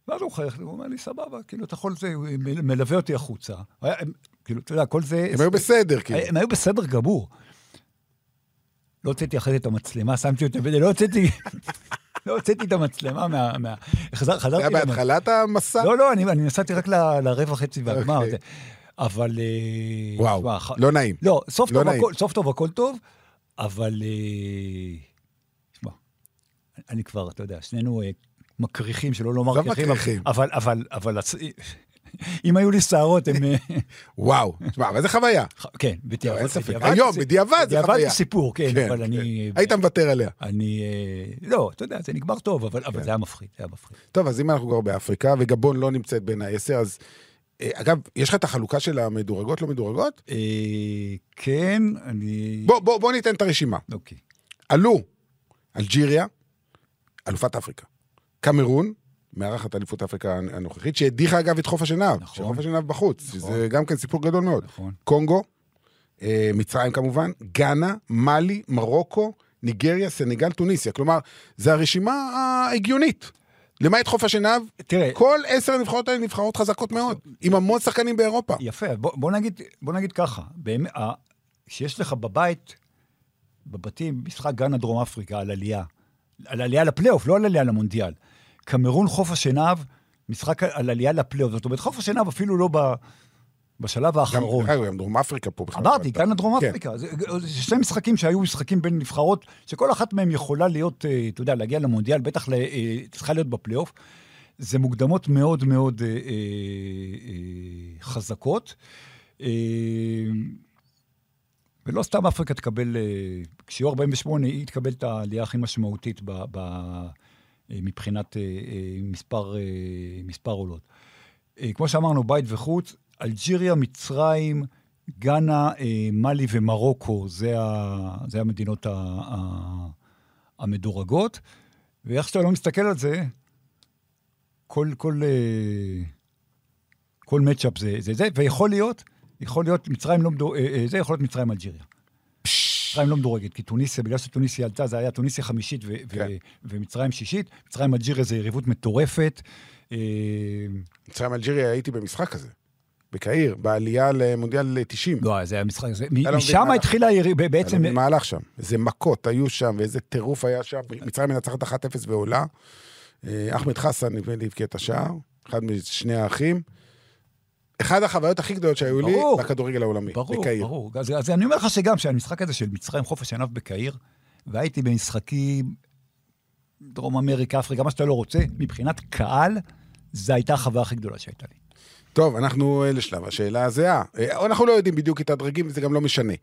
Speaker 5: ואז הוא מחייך, הוא אומר לי, סבבה, כאילו, אתה יכול, זה, הוא מ- מלווה אותי החוצה. היה- הם- כאילו, אתה יודע, כל זה...
Speaker 4: הם היו בסדר, כאילו.
Speaker 5: הם היו בסדר גמור. לא הוצאתי אחרי זה את המצלמה, שמתי אותה, בזה, לא הוצאתי... (laughs) לא הוצאתי את המצלמה מה... מה- חזר-
Speaker 4: זה
Speaker 5: חזרתי...
Speaker 4: היה
Speaker 5: למצ-
Speaker 4: בהתחלת המסע?
Speaker 5: לא, לא, אני, אני נסעתי רק ל- לרבע וחצי והגמר.
Speaker 4: אוקיי.
Speaker 5: זה. אבל... אה,
Speaker 4: וואו,
Speaker 5: תשמע, ח-
Speaker 4: לא נעים.
Speaker 5: לא, סוף,
Speaker 4: לא
Speaker 5: טוב,
Speaker 4: נעים.
Speaker 5: הכל, סוף טוב הכל טוב, אבל... אה, תשמע, אני כבר, אתה יודע, שנינו אה, מקריחים, שלא לומר
Speaker 4: לא
Speaker 5: מקריחים.
Speaker 4: מקריחים.
Speaker 5: אבל, אבל, אבל, הצ- אם היו לי שערות,
Speaker 4: (laughs)
Speaker 5: הם... אה, (laughs)
Speaker 4: וואו. תשמע, אבל זה חוויה.
Speaker 5: ח- כן, בדיעבד.
Speaker 4: לא, אין ספק.
Speaker 5: בדיעבד
Speaker 4: היום,
Speaker 5: זה-
Speaker 4: בדיעבד זה
Speaker 5: בדיעבד
Speaker 4: חוויה.
Speaker 5: זה סיפור, כן,
Speaker 4: כן,
Speaker 5: אבל
Speaker 4: כן.
Speaker 5: אני...
Speaker 4: היית מוותר עליה.
Speaker 5: אני... אה, לא, אתה יודע, זה נגמר טוב, אבל
Speaker 4: כן.
Speaker 5: אבל זה היה מפחיד, זה היה מפחיד.
Speaker 4: טוב, אז אם אנחנו כבר באפריקה, וגבון לא נמצאת בין העשר, אז... אה, אגב, יש לך את החלוקה של המדורגות, לא מדורגות?
Speaker 5: אה, כן, אני...
Speaker 4: בוא, בוא, בוא ניתן את הרשימה.
Speaker 5: אוקיי.
Speaker 4: עלו אלג'יריה, אלופת אפריקה. קמרון, מארחת אליפות אפריקה הנ- הנוכחית, שהדיחה אגב את חוף השנהב.
Speaker 5: נכון.
Speaker 4: שחוף השנהב בחוץ, שזה גם כן סיפור גדול מאוד.
Speaker 5: נכון.
Speaker 4: קונגו, אה, מצרים כמובן, גאנה, מאלי, מרוקו, ניגריה, סנגל, טוניסיה. כלומר, זו הרשימה ההגיונית. למעט חוף השנהב,
Speaker 5: תראה,
Speaker 4: כל עשר הנבחרות האלה נבחרות חזקות מאוד, עם המון שחקנים באירופה.
Speaker 5: יפה, בוא, בוא, נגיד, בוא נגיד ככה, באמת, ה- שיש לך בבית, בבתים, משחק גאנה דרום אפריקה על עלייה, על עלייה לפלייאוף, לא על עלייה למונדיאל. קמרון חוף השנהב, משחק על עלייה לפלייאוף, זאת אומרת חוף השנהב אפילו לא ב, בשלב
Speaker 4: גם, אה,
Speaker 5: האחרון.
Speaker 4: אגב, גם דרום אפריקה פה בכלל.
Speaker 5: נכון. אמרתי,
Speaker 4: אבל-
Speaker 5: גאנה דרום
Speaker 4: כן.
Speaker 5: אפריקה. זה זה שני משחקים שהיו משחקים בין נבחרות, שכל אחת מהן יכולה להיות, אה, אתה יודע, להגיע למונדיאל, בטח ל- אה, צריכה להיות בפלייאוף. זה מוקדמות מאוד מאוד אה, אה, אה, חזקות. אה, ולא סתם אפריקה תקבל, אה, כשיהיו 48, היא תקבל את העלייה הכי משמעותית ב, ב, אה, מבחינת אה, אה, מספר, אה, מספר עולות. אה, כמו שאמרנו, בית וחוץ, אלג'יריה, מצרים, גאנה, אה, מאלי ומרוקו, זה, ה, זה המדינות ה, ה, המדורגות. ואיך שאתה לא מסתכל על זה, כל, כל, אה, כל מצ'אפ זה, זה זה, ויכול להיות, יכול להיות מצרים לא מדור... אה, אה, זה יכול להיות מצרים אלג'יריה. מצרים לא מדורגת, כי טוניסיה, בגלל שטוניסיה עלתה, זה היה טוניסיה חמישית ו-
Speaker 4: כן.
Speaker 5: ו- ומצרים שישית. מצרים אלג'יריה זה יריבות מטורפת. אה,
Speaker 4: מצרים אלג'יריה הייתי במשחק הזה, בקהיר, בעלייה למונדיאל 90.
Speaker 5: לא, זה היה משחק, זה-
Speaker 4: לא מבין
Speaker 5: משם
Speaker 4: מה-
Speaker 5: התחילה הירי- ב-
Speaker 4: בעצם...
Speaker 5: בעצם,
Speaker 4: מה הלך שם? איזה מכות היו שם, ואיזה טירוף היה שם. מצרים מנצחת 1-0 ועולה. אה, אחמד חסן, נדמה לי, הבקיע את השער, אחד משני האחים. אחד החוויות הכי גדולות שהיו לי
Speaker 5: ברור.
Speaker 4: בכדורגל העולמי,
Speaker 5: ברור,
Speaker 4: בקהיר.
Speaker 5: ברור. אז, אז אני אומר לך שגם שהמשחק הזה של מצרים חופש עיניו בקהיר, והייתי במשחקים דרום אמריקה, אפריקה, מה שאתה לא רוצה, מבחינת קהל, זו הייתה החוויה הכי גדולה שהייתה לי.
Speaker 4: טוב, אנחנו אה, לשלב השאלה הזהה. אה, אנחנו לא יודעים בדיוק את הדרגים, וזה גם לא משנה.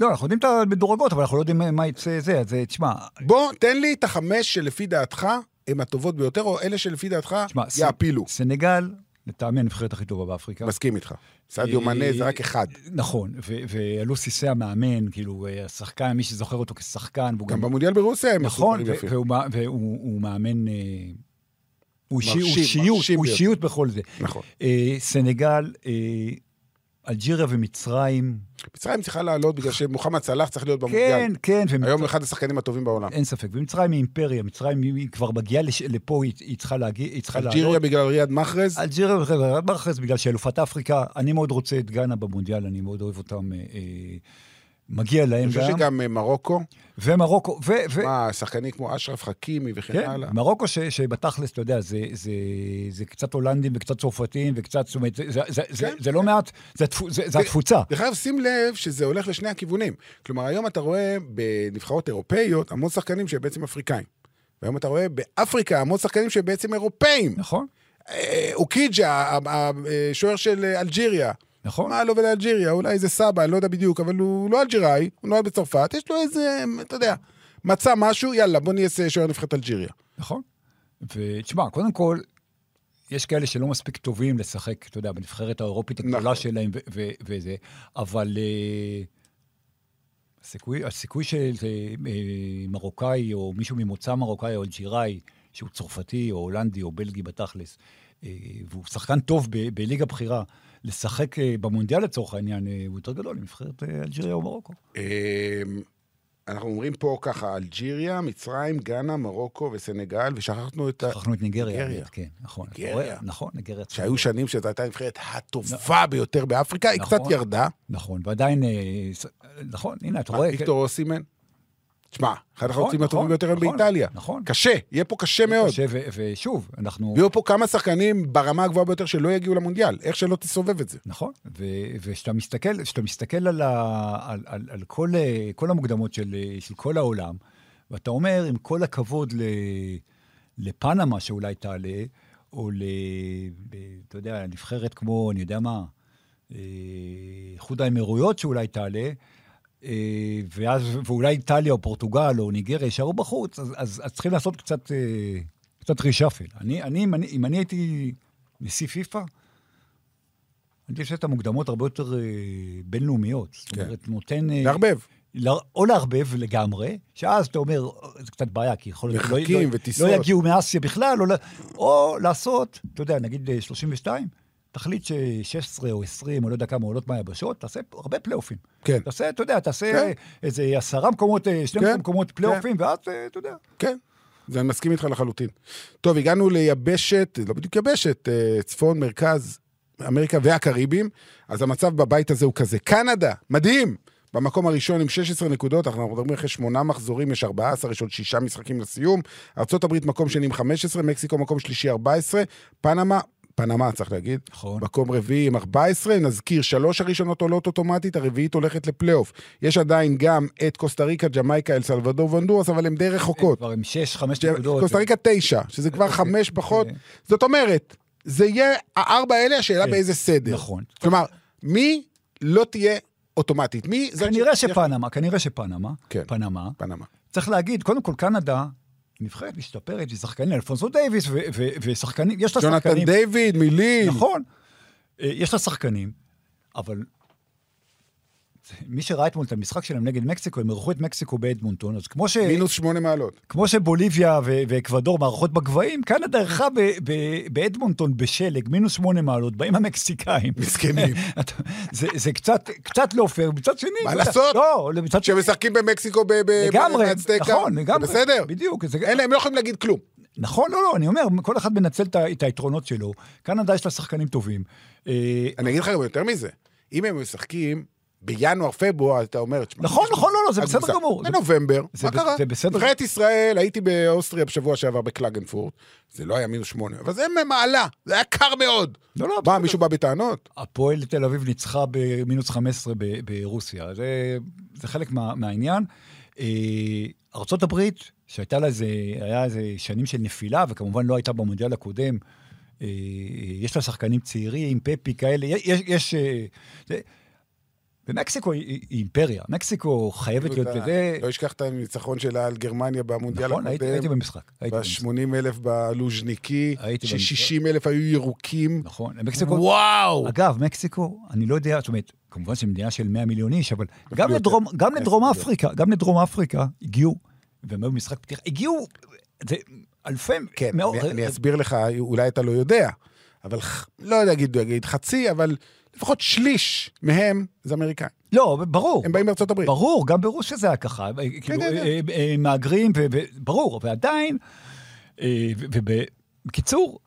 Speaker 5: לא, אנחנו יודעים את המדורגות, אבל אנחנו לא יודעים מה- מה יצא זה, אז אה, תשמע,
Speaker 4: בוא, תן לי את החמש שלפי דעתך הן הטובות ביותר, או אלה שלפי דעתך
Speaker 5: תשמע, ס-
Speaker 4: יעפילו.
Speaker 5: סנגל, לטעמי הנבחרת הכי טובה באפריקה.
Speaker 4: מסכים איתך. סעדיו
Speaker 5: אה,
Speaker 4: מנה זה רק אחד.
Speaker 5: נכון, ו- ואלוסיסי המאמן, כאילו, אה, השחקן, מי שזוכר אותו כשחקן, והוא
Speaker 4: גם במונדיאל ברוסיה הם עשו
Speaker 5: נכון,
Speaker 4: דברים
Speaker 5: ו-
Speaker 4: יפים.
Speaker 5: והוא, מא- והוא הוא מאמן... אה, הוא אישי- הוא
Speaker 4: מרשים,
Speaker 5: אישיות,
Speaker 4: מרשים
Speaker 5: הוא
Speaker 4: ביותר.
Speaker 5: אישיות בכל זה.
Speaker 4: נכון.
Speaker 5: אה, סנגל, אה, אלג'יריה ומצרים.
Speaker 4: מצרים צריכה לעלות בגלל שמוחמד סלאח צריך להיות במונדיאל.
Speaker 5: כן, כן, ומצרים,
Speaker 4: היום אחד השחקנים הטובים בעולם.
Speaker 5: אין ספק. ומצרים היא אימפריה, מצרים היא- היא כבר מגיעה לש- לפה, היא- היא צריכה להגיע, היא צריכה לעלות.
Speaker 4: אלג'יריה בגלל ריאד מחרז,
Speaker 5: אלג'יריה וחבר ברחס, בגלל שאלופת אפריקה, אני מאוד רוצה את גאנה במונדיאל, אני מאוד אוהב אותם. אה, אה, מגיע להם
Speaker 4: אני חושב
Speaker 5: גם.
Speaker 4: שגם אה, מרוקו,
Speaker 5: ומרוקו, ו... ו-
Speaker 4: מה, שחקנים כמו אשרף חכימי וכן
Speaker 5: כן,
Speaker 4: הלאה.
Speaker 5: מרוקו ש, שבתכלס, אתה יודע, זה, זה, זה קצת הולנדים וקצת צרפתים וקצת, זאת אומרת, זה, זה, זה, זה,
Speaker 4: כן.
Speaker 5: זה לא מעט, זה, התפו, זה, זה התפוצה.
Speaker 4: דרך אגב, שים לב שזה הולך לשני הכיוונים. כלומר, היום אתה רואה בנבחרות אירופאיות המון שחקנים שהם בעצם אפריקאים. והיום אתה רואה באפריקה המון שחקנים שהם בעצם אירופאים.
Speaker 5: נכון,
Speaker 4: אה, אוקיג'ה, השוער של אה, אלג'יריה.
Speaker 5: נכון.
Speaker 4: מה לו ולאלג'יריה? לא אולי זה סבא, אני לא יודע בדיוק, אבל הוא לא אלג'יראי, הוא נולד בצרפת, יש לו איזה, אתה יודע, מצא משהו, יאללה, בוא נהיה שוער נבחרת אלג'יריה.
Speaker 5: נכון. ותשמע, קודם כל, יש כאלה שלא מספיק טובים לשחק, אתה יודע, בנבחרת האירופית הגדולה
Speaker 4: נכון.
Speaker 5: נכון. שלהם ו- ו- וזה, אבל אה, הסיכוי, הסיכוי של אה, אה, מרוקאי או מישהו ממוצא מרוקאי או אלג'יראי, שהוא צרפתי או הולנדי או בלגי בתכלס, אה, והוא שחקן טוב ב- בליגה בכירה, לשחק אה, במונדיאל לצורך העניין, אה, הוא יותר גדול מנבחרת אה, אלג'יריה או מרוקו.
Speaker 4: אמ, אנחנו אומרים פה ככה, אלג'יריה, מצרים, גאנה, מרוקו וסנגל, ושכחנו את ה...
Speaker 5: שכחנו את ניגריה,
Speaker 4: ניגריה.
Speaker 5: כן, נכון. אתה
Speaker 4: ניגריה.
Speaker 5: רואה? נכון, ניגריה.
Speaker 4: שהיו שנים שזו הייתה הנבחרת הטובה ביותר באפריקה, היא
Speaker 5: נכון.
Speaker 4: קצת ירדה.
Speaker 5: נכון, ועדיין, אה, ס- נכון, הנה, אתה
Speaker 4: מה,
Speaker 5: רואה...
Speaker 4: ויקטור אוסימן? תשמע, אחד החלוצים
Speaker 5: נכון,
Speaker 4: הטובים ביותר הם
Speaker 5: נכון,
Speaker 4: באיטליה.
Speaker 5: נכון.
Speaker 4: קשה, יהיה פה קשה מאוד.
Speaker 5: קשה, ו- ושוב, אנחנו...
Speaker 4: יהיו פה כמה שחקנים ברמה הגבוהה ביותר שלא יגיעו למונדיאל, איך שלא תסובב את זה.
Speaker 5: נכון, ו- וכשאתה מסתכל, כשאתה מסתכל על, ה- על, על, על כל, אה, כל המוקדמות של, אה, של כל העולם, ואתה אומר, עם כל הכבוד ל, לפנמה שאולי תעלה, או ל... ב- אתה יודע, נבחרת כמו, אני יודע מה, אה, איחוד האמירויות שאולי תעלה, אה, ואז, ואולי איטליה או פורטוגל או ניגריה יישארו בחוץ, אז, אז, אז צריכים לעשות קצת, אה, קצת רישאפל. אני, אני, אם אני, אם אני הייתי נשיא פיפ"א, אני חושב שאת המוקדמות הרבה יותר אה, בינלאומיות. זאת
Speaker 4: כן.
Speaker 5: אומרת, נותן... אה,
Speaker 4: לערבב.
Speaker 5: ל- או לערבב לגמרי, שאז אתה אומר, "אה, זה קצת בעיה, כי יכול להיות... לא-
Speaker 4: מרחקים
Speaker 5: לא-
Speaker 4: וטיסות.
Speaker 5: לא יגיעו מאסיה בכלל, או, לא- או לעשות, אתה יודע, נגיד אה, 32, תחליט ש-16 או 20, או לא יודע כמה עולות מהיבשות, תעשה הרבה פלייאופים.
Speaker 4: כן.
Speaker 5: תעשה, אתה יודע, תעשה
Speaker 4: כן.
Speaker 5: איזה עשרה מקומות, אה, 12
Speaker 4: כן,
Speaker 5: מקומות פלייאופים, ואז, אה, אתה יודע.
Speaker 4: כן. ואני מסכים איתך לחלוטין. טוב, הגענו ליבשת, לא בדיוק יבשת, אה, צפון, מרכז, אמריקה והקריבים, אז המצב בבית הזה הוא כזה. קנדה, מדהים! במקום הראשון עם 16 נקודות, אנחנו מדברים אחרי שמונה מחזורים, יש 14, יש עוד שישה משחקים לסיום. ארה"ב מקום שני עם 15, מקסיקו מקום שלישי 14, פנמה, פנמה צריך להגיד,
Speaker 5: נכון.
Speaker 4: מקום רביעי עם 14, נזכיר, שלוש הראשונות עולות אוטומטית, הרביעית הולכת לפלייאוף. יש עדיין גם את קוסטה ריקה, ג'מייקה, אל סלבדור והונדורס, אבל הן די רחוקות.
Speaker 5: כבר עם שש, חמש נקודות.
Speaker 4: קוסטה ריקה תשע, שזה
Speaker 5: (laughs)
Speaker 4: כבר
Speaker 5: אוקיי,
Speaker 4: חמש פחות.
Speaker 5: אוקיי.
Speaker 4: זאת אומרת, זה יהיה הארבע האלה, השאלה
Speaker 5: כן,
Speaker 4: באיזה סדר.
Speaker 5: נכון.
Speaker 4: כלומר, מי לא תהיה אוטומטית? מי זה...
Speaker 5: כנראה
Speaker 4: שיהיה-
Speaker 5: שפנמה, כנראה שפנמה,
Speaker 4: כן.
Speaker 5: פנמה,
Speaker 4: פנמה.
Speaker 5: צריך להגיד, קודם כל קנדה, היא נבחרת משתפרת, היא שחקנים, אלפונסו דייוויס, ו- ו- ושחקנים, יש לה
Speaker 4: ג'ונתן
Speaker 5: שחקנים.
Speaker 4: דיוויד, מילים.
Speaker 5: נכון. אה, יש לה שחקנים, אבל מי שראה אתמול את המשחק שלהם נגד מקסיקו, הם אירחו את מקסיקו באדמונטון, אז כמו, ש...
Speaker 4: מינוס שמונה מעלות.
Speaker 5: כמו שבוליביה ו- ואקוודור מארחות בגבהים, קנדה אירחה ב- ב- באדמונטון בשלג, מינוס שמונה מעלות, באים המקסיקאים.
Speaker 4: מסכנים.
Speaker 5: (laughs) אתה- זה, זה קצת, קצת לא פייר, מצד שני...
Speaker 4: מה
Speaker 5: אתה יודע,
Speaker 4: לעשות?
Speaker 5: לא, מצד שני...
Speaker 4: כשמשחקים במקסיקו ב- ב-
Speaker 5: לגמרי,
Speaker 4: בהצטקה.
Speaker 5: נכון,
Speaker 4: זה
Speaker 5: לגמרי.
Speaker 4: בסדר.
Speaker 5: בדיוק. זה-
Speaker 4: אין, הם לא יכולים להגיד כלום.
Speaker 5: נכון, לא, לא, אני אומר, כל אחד מנצל את ה- את היתרונות שלו. קנדה יש לה שחקנים טובים. אה,
Speaker 4: אני אגיד לך גם יותר מזה. אם הם משחקים בינואר-פברואר, אתה אומר, תשמע...
Speaker 5: נכון,
Speaker 4: יש
Speaker 5: נכון, לא, לא, זה
Speaker 4: הקבוצה.
Speaker 5: בסדר גמור. זה-
Speaker 4: בנובמבר,
Speaker 5: זה
Speaker 4: מה
Speaker 5: ב-
Speaker 4: קרה?
Speaker 5: זה בסדר.
Speaker 4: נבחרת ישראל, הייתי באוסטריה בשבוע שעבר בקלגנפורט, זה לא היה מינוס שמונה, אבל זה מעלה, זה היה קר מאוד.
Speaker 5: לא, לא,
Speaker 4: מה,
Speaker 5: בסדר.
Speaker 4: מישהו בא בטענות?
Speaker 5: הפועל תל אביב ניצחה במינוס 15 ב- ברוסיה. זה, זה חלק מה, מהעניין. אה, ארצות הברית, שהייתה לה איזה, היה איזה שנים של נפילה, וכמובן לא הייתה במונדיאל הקודם, אה, יש לה שחקנים צעירים, פפי כאלה, יש... יש אה, זה, ומקסיקו היא, היא אימפריה, מקסיקו חייבת להיות
Speaker 4: אתה
Speaker 5: בזה.
Speaker 4: לא אשכח את הניצחון שלה על גרמניה במונדיאל
Speaker 5: נכון, הייתי, הייתי
Speaker 4: הקודם,
Speaker 5: במשחק. הייתי במשחק.
Speaker 4: ב-80 אלף בלוז'ניקי,
Speaker 5: הייתי במשחק.
Speaker 4: ש-60 אלף היו ירוקים.
Speaker 5: נכון, מקסיקו...
Speaker 4: וואו!
Speaker 5: אגב, מקסיקו, אני לא יודע, זאת אומרת, כמובן שהיא מדינה של 100 מיליון איש, אבל גם
Speaker 4: יותר, כן,
Speaker 5: לדרום, גם
Speaker 4: עשר
Speaker 5: לדרום
Speaker 4: מיליון.
Speaker 5: אפריקה, גם לדרום אפריקה הגיעו, והם היו במשחק פתיחה, הגיעו, זה אלפי,
Speaker 4: כן,
Speaker 5: מאות-
Speaker 4: אני, אני אסביר לך, אולי אתה לא יודע, אבל ח- לא יודע להגיד להגיד חצי, אבל לפחות שליש מהם זה אמריקאים.
Speaker 5: לא, ברור,
Speaker 4: הם באים מארצות הברית.
Speaker 5: ברור, גם ברוסיה זה היה ככה, כאילו,
Speaker 4: כן, כן.
Speaker 5: אה, אה, מהגרים, ו- ו- ברור, אה, ועדיין, ובקיצור,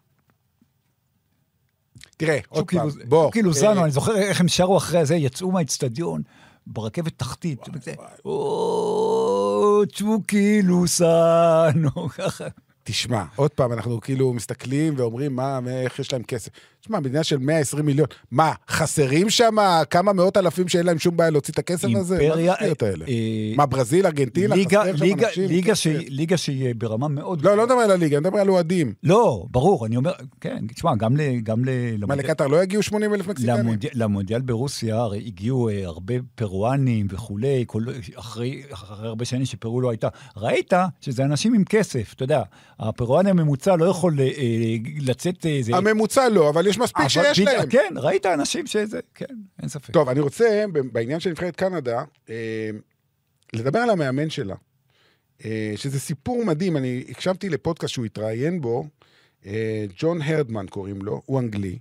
Speaker 4: תראה, עוד פעם,
Speaker 5: צ'וקי לוז-
Speaker 4: בוא. אה,
Speaker 5: צ'וקי לוזאנו, כאילו אני זוכר איך הם שרו אחרי זה, יצאו מהאיצטדיון ברכבת תחתית. וזה, "או, צ'וקי לוזאנו, ככה.
Speaker 4: תשמע, עוד פעם, אנחנו כאילו מסתכלים ואומרים, מה, מה- איך יש להם כסף? תשמע, מדינה של 120 מיליון, מה, חסרים שם כמה מאות אלפים שאין להם שום בעיה להוציא את הכסף הזה? מה זה
Speaker 5: אימפריה,
Speaker 4: השטויות האלה?
Speaker 5: אה, אה,
Speaker 4: מה, ברזיל, ארגנטינה,
Speaker 5: ליגה-
Speaker 4: חסר שם
Speaker 5: ליגה-
Speaker 4: אנשים?
Speaker 5: ליגה
Speaker 4: כן,
Speaker 5: שהיא-
Speaker 4: כן.
Speaker 5: ליגה שהיא אה, ברמה מאוד...
Speaker 4: לא, לא מדבר על הליגה, אני מדבר על אוהדים.
Speaker 5: לא, ברור, אני אומר, כן, תשמע, גם ל... גם ל...
Speaker 4: מה,
Speaker 5: למונדיאל-
Speaker 4: לקטר לא יגיעו 80 אלף מקסיקנים?
Speaker 5: למונדיאל- למונדיאל ברוסיה הרי הגיעו אה, הרבה פרואנים וכולי, כל, אחרי, אחרי הרבה שנים שפרו לא הייתה. ראית שזה אנשים עם כסף, אתה יודע, הפרואני הממוצע לא יכול אה, אה, לצאת איזה...
Speaker 4: הממוצע לא, אבל יש מספיק
Speaker 5: אבל
Speaker 4: שיש
Speaker 5: בדיוק,
Speaker 4: להם.
Speaker 5: כן, ראית אנשים שזה, כן, אין ספק.
Speaker 4: טוב, אני רוצה, ב- בעניין של נבחרת קנדה, אה, לדבר על המאמן שלה, אה, שזה סיפור מדהים. אני הקשבתי לפודקאסט שהוא התראיין בו, אה, ג'ון הרדמן קוראים לו, הוא אנגלי,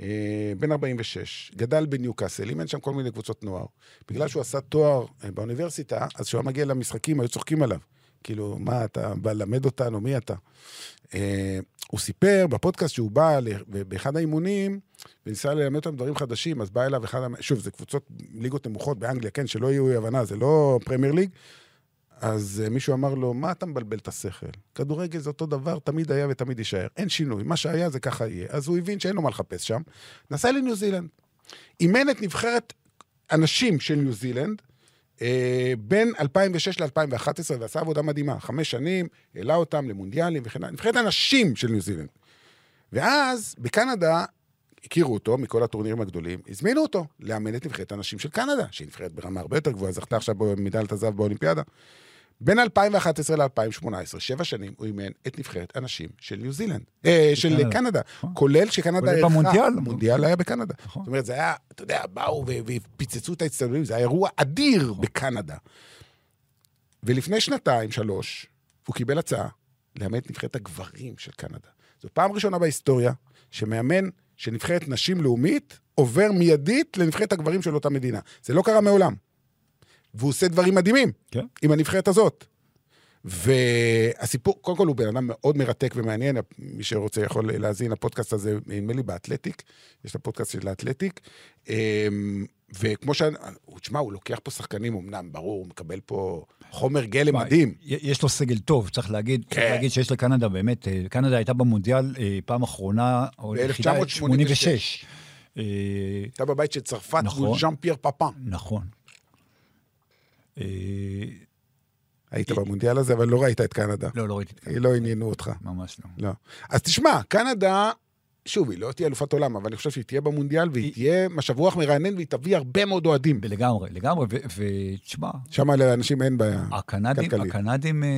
Speaker 4: אה, בן 46, גדל בניוקאסל, אימן שם כל מיני קבוצות נוער. בגלל שהוא עשה תואר אה, באוניברסיטה, אז כשהוא היה מגיע למשחקים היו צוחקים עליו. כאילו, מה, אתה בא ללמד אותנו, מי אתה? אה, הוא סיפר בפודקאסט שהוא בא ל- ב- באחד האימונים וניסה ללמד אותם דברים חדשים, אז בא אליו אחד, המ- שוב, זה קבוצות ליגות נמוכות באנגליה, כן, שלא יהיו אי הבנה, זה לא פרמייר ליג. אז אה, מישהו אמר לו, מה אתה מבלבל את השכל? כדורגל זה אותו דבר, תמיד היה ותמיד יישאר. אין שינוי, מה שהיה זה ככה יהיה. אז הוא הבין שאין לו מה לחפש שם. נסע לניו זילנד. אימן את נבחרת הנשים של ניו זילנד, אה, בין 2006 ל-2011, ועשה עבודה מדהימה. חמש שנים, העלה אותם למונדיאלים וכן הלאה. נבחרת הנשים של ניו זילנד. ואז בקנדה הכירו אותו מכל הטורנירים הגדולים, הזמינו אותו לאמן את נבחרת הנשים של קנדה, שהיא נבחרת ברמה הרבה יותר גבוהה, זכתה עכשיו במדליית הזהב באולימפיאדה. בין 2011 ל-2018, שבע שנים, הוא אימן את נבחרת הנשים של ניו זילנד, אה, של
Speaker 5: קנדה.
Speaker 4: קנדה, כולל שקנדה
Speaker 5: כולל במונדיאל.
Speaker 4: המונדיאל היה בקנדה.
Speaker 5: נכון.
Speaker 4: זאת אומרת, זה היה, אתה יודע, באו ו- ופיצצו את האצטדיונים, זה היה אירוע אדיר בקנדה. ולפני שנתיים, שלוש, הוא קיבל הצעה לאמן את נבחרת הגברים של קנדה. זו פעם ראשונה בהיסטוריה שמאמן שנבחרת נשים לאומית עובר מיידית לנבחרת הגברים של אותה מדינה. זה לא קרה מעולם. והוא עושה דברים מדהימים
Speaker 5: כן.
Speaker 4: עם הנבחרת הזאת. והסיפור, קודם כל הוא בן אדם מאוד מרתק ומעניין, מי שרוצה יכול להאזין לפודקאסט הזה, נדמה לי באתלטיק, יש את הפודקאסט של האתלטיק. אמ, וכמו ש... תשמע, הוא לוקח פה שחקנים, אמנם, ברור, הוא מקבל פה חומר גלם
Speaker 5: תשמע,
Speaker 4: מדהים.
Speaker 5: י- יש לו סגל טוב, צריך להגיד, צריך
Speaker 4: כן.
Speaker 5: להגיד שיש לקנדה באמת, אה, קנדה הייתה במונדיאל אה, פעם אחרונה, או יחידה,
Speaker 4: ב-
Speaker 5: 86. אה,
Speaker 4: אתה בבית של צרפת מול
Speaker 5: נכון.
Speaker 4: ז'אן פייר פאפן.
Speaker 5: נכון. אה,
Speaker 4: היית במונדיאל הזה, אבל לא ראית את קנדה.
Speaker 5: לא, לא ראיתי את
Speaker 4: היא לא עניינו אותך.
Speaker 5: ממש לא.
Speaker 4: לא. אז תשמע, קנדה, שוב, היא לא תהיה אלופת עולם, אבל אני חושב שהיא תהיה במונדיאל, והיא
Speaker 5: היא-
Speaker 4: תהיה משב רוח מרענן, והיא תביא הרבה מאוד אוהדים.
Speaker 5: לגמרי, לגמרי, ו- ותשמע,
Speaker 4: שם לאנשים אין בעיה.
Speaker 5: הקנדים,
Speaker 4: כלכלי.
Speaker 5: הקנדים אה,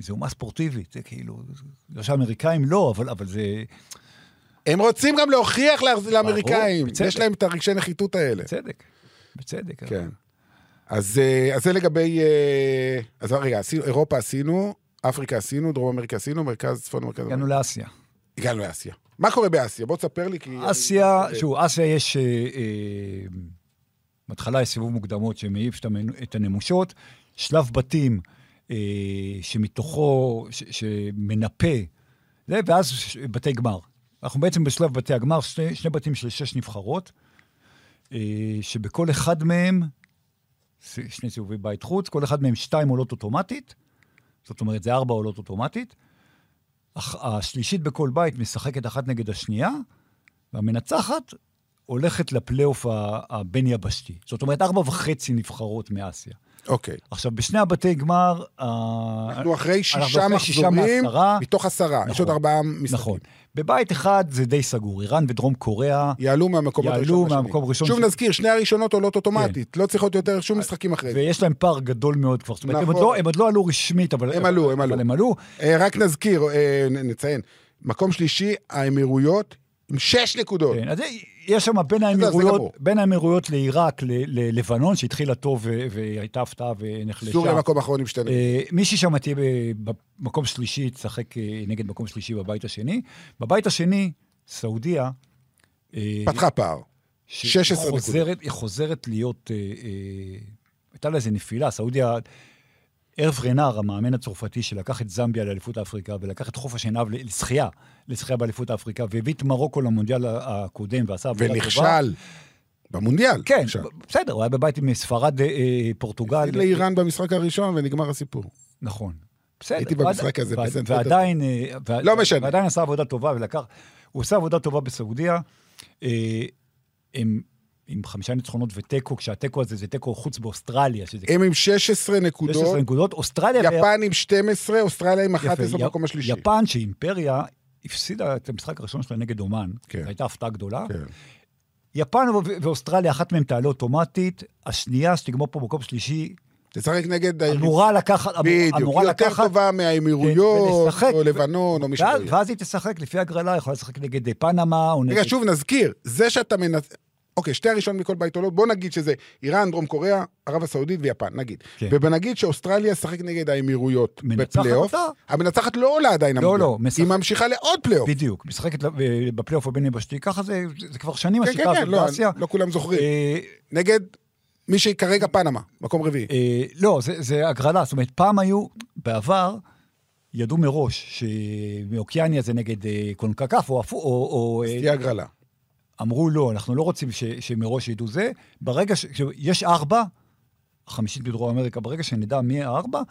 Speaker 5: זה אומה ספורטיבית, זה כאילו, לא שהאמריקאים לא, אבל, אבל זה,
Speaker 4: כן. הם רוצים גם להוכיח לה- לאמריקאים,
Speaker 5: בצדק.
Speaker 4: יש להם את הרגשי נחיתות האלה.
Speaker 5: בצדק, בצדק. אבל-
Speaker 4: כן. אז, אה, אז זה לגבי... אה, אז רגע, עשינו, אירופה עשינו, אפריקה עשינו, דרום אמריקה עשינו, מרכז, צפון מרכז.
Speaker 5: הגענו לאסיה.
Speaker 4: הגענו לאסיה. מה קורה באסיה? בוא תספר לי, כי...
Speaker 5: אסיה,
Speaker 4: אני-
Speaker 5: שוב, אסיה יש... אה, אה, בהתחלה יש סיבוב מוקדמות שמעיף את המנ- את הנמושות, שלב בתים אה, שמתוכו, ש- שמנפה, זה, ואז ש- בתי גמר. אנחנו בעצם בשלב בתי הגמר, שני, שני בתים של שש נבחרות, אה, שבכל אחד מהם, ש- שני סיבובי בית חוץ, כל אחד מהם שתיים עולות אוטומטית, זאת אומרת, זה ארבע עולות אוטומטית. אך- השלישית בכל בית משחקת אחת נגד השנייה, והמנצחת הולכת לפלייאוף ה- הבין-יבשתי. זאת אומרת, ארבע וחצי נבחרות מאסיה.
Speaker 4: אוקיי.
Speaker 5: עכשיו, בשני הבתי גמר... ה-
Speaker 4: אנחנו לא אחרי שישה
Speaker 5: אחרי שישה
Speaker 4: מחזורים,
Speaker 5: מעשרה.
Speaker 4: מתוך עשרה. יש עוד
Speaker 5: נכון.
Speaker 4: ארבעה משחקים.
Speaker 5: נכון. בבית אחד זה די סגור, איראן ודרום קוריאה.
Speaker 4: יעלו מהמקום
Speaker 5: יעלו
Speaker 4: הראשון.
Speaker 5: מהמקום
Speaker 4: לשני.
Speaker 5: הראשון כן.
Speaker 4: שוב
Speaker 5: של-
Speaker 4: נזכיר, שני הראשונות עולות אוטומטית. לא צריכות יותר שום משחקים אחרי זה.
Speaker 5: ויש להם פער גדול מאוד כבר. זאת אומרת, הם,
Speaker 4: נכון.
Speaker 5: עוד לא, הם עוד לא עלו רשמית, אבל
Speaker 4: הם עלו, הם
Speaker 5: אבל
Speaker 4: עלו.
Speaker 5: הם עלו.
Speaker 4: אה, רק נזכיר, אה, נ- נציין. מקום שלישי, האמירויות, עם שש נקודות.
Speaker 5: כן, אז יש שם בין
Speaker 4: גמור.
Speaker 5: האמירויות, בין האמירויות לעיראק, ל- ללבנון, שהתחילה טוב ו- והייתה הפתעה ונחלשה.
Speaker 4: סוריה מקום אחרון עם שתי נקודות.
Speaker 5: אה, מישהי שם תהיה ב- במקום שלישי, תשחק אה, נגד מקום שלישי בבית השני. בבית השני, סעודיה... אה,
Speaker 4: פתחה פער.
Speaker 5: ש-
Speaker 4: 16
Speaker 5: חוזרת- היא חוזרת להיות... אה, אה, הייתה לה איזו נפילה, סעודיה... ערב רנר, המאמן הצרפתי שלקח את זמביה לאליפות אפריקה ולקח את חוף השנהב ל- לשחייה, לשחייה באליפות אפריקה, והביא את מרוקו למונדיאל ה- הקודם ועשה עבודה טובה.
Speaker 4: ונכשל. במונדיאל.
Speaker 5: כן,
Speaker 4: נכשל.
Speaker 5: ב- בסדר, הוא היה בבית עם ספרד, אה, אה, פורטוגל.
Speaker 4: הפסיד לאיראן במשחק הראשון ונגמר הסיפור.
Speaker 5: נכון. בסדר.
Speaker 4: הייתי
Speaker 5: ועד-
Speaker 4: במשחק הזה,
Speaker 5: ועד-
Speaker 4: בסנט
Speaker 5: ועדיין... אה, ו-
Speaker 4: לא משנה.
Speaker 5: ועדיין עשה עבודה טובה ולקח... הוא עושה עבודה טובה בסעודיה. אה, הם עם חמישה ניצחונות ותיקו, כשהתיקו הזה זה תיקו חוץ באוסטרליה, שזה
Speaker 4: הם עם 16
Speaker 5: 16
Speaker 4: נקודות,
Speaker 5: נקודות. אוסטרליה...
Speaker 4: אה, יפן עם 12, אוסטרליה עם
Speaker 5: ויפ-
Speaker 4: 11
Speaker 5: יפ-
Speaker 4: במקום השלישי.
Speaker 5: יפן, שהיא אימפריה, הפסידה את המשחק הראשון שלה נגד אומן.
Speaker 4: כן.
Speaker 5: זו הייתה הפתעה גדולה.
Speaker 4: כן.
Speaker 5: יפן ו- ואוסטרליה, אחת מהן תעלה אוטומטית, השנייה שתגמור פה במקום שלישי,
Speaker 4: תשחק נגד האירופה.
Speaker 5: אמורה לקחת, אמור-
Speaker 4: בדיוק,
Speaker 5: אמורה
Speaker 4: היא יותר
Speaker 5: לקחת כן,
Speaker 4: טובה מהאמירויות,
Speaker 5: ולשחק,
Speaker 4: או
Speaker 5: ו-
Speaker 4: לבנון, או מישהו.
Speaker 5: ואז,
Speaker 4: כזה.
Speaker 5: ואז היא תשחק לפי הגרלה, יכולה לשחק נגד אה, פנמה, או נגד...
Speaker 4: רגע, שוב נזכיר, זה שאתה מנס... אוקיי, שתי הראשון מכל בית עולות, בוא נגיד שזה איראן, דרום קוריאה, ערב הסעודית ויפן, נגיד.
Speaker 5: כן.
Speaker 4: ובוא נגיד שאוסטרליה שחק נגד האמירויות
Speaker 5: מנצחת
Speaker 4: בפלייאוף.
Speaker 5: אותה?
Speaker 4: המנצחת לא עולה עדיין.
Speaker 5: לא,
Speaker 4: המונדיאל.
Speaker 5: לא, משחק-
Speaker 4: היא ממשיכה לעוד פלייאוף.
Speaker 5: בדיוק, משחקת ל- ב- בפלייאוף הבין יבשתי, ככה זה, זה כבר שנים
Speaker 4: כן, כן,
Speaker 5: השיטה
Speaker 4: כן,
Speaker 5: הזאת
Speaker 4: לא,
Speaker 5: באסיה.
Speaker 4: לא כולם זוכרים.
Speaker 5: אה,
Speaker 4: נגד מי שהיא כרגע פנמה, מקום רביעי.
Speaker 5: אה, לא, זה, זה הגרלה, זאת אומרת, פעם היו, בעבר, ידעו מראש שמאוקיאניה זה נגד אה, קונקקף, או, הפו- או, או אה,
Speaker 4: תהיה הגרלה.
Speaker 5: אמרו לא, אנחנו לא רוצים ש, שמראש ידעו זה. ברגע ש- שיש ארבע, החמישית בדרום אמריקה, ברגע שנדע מי הארבע,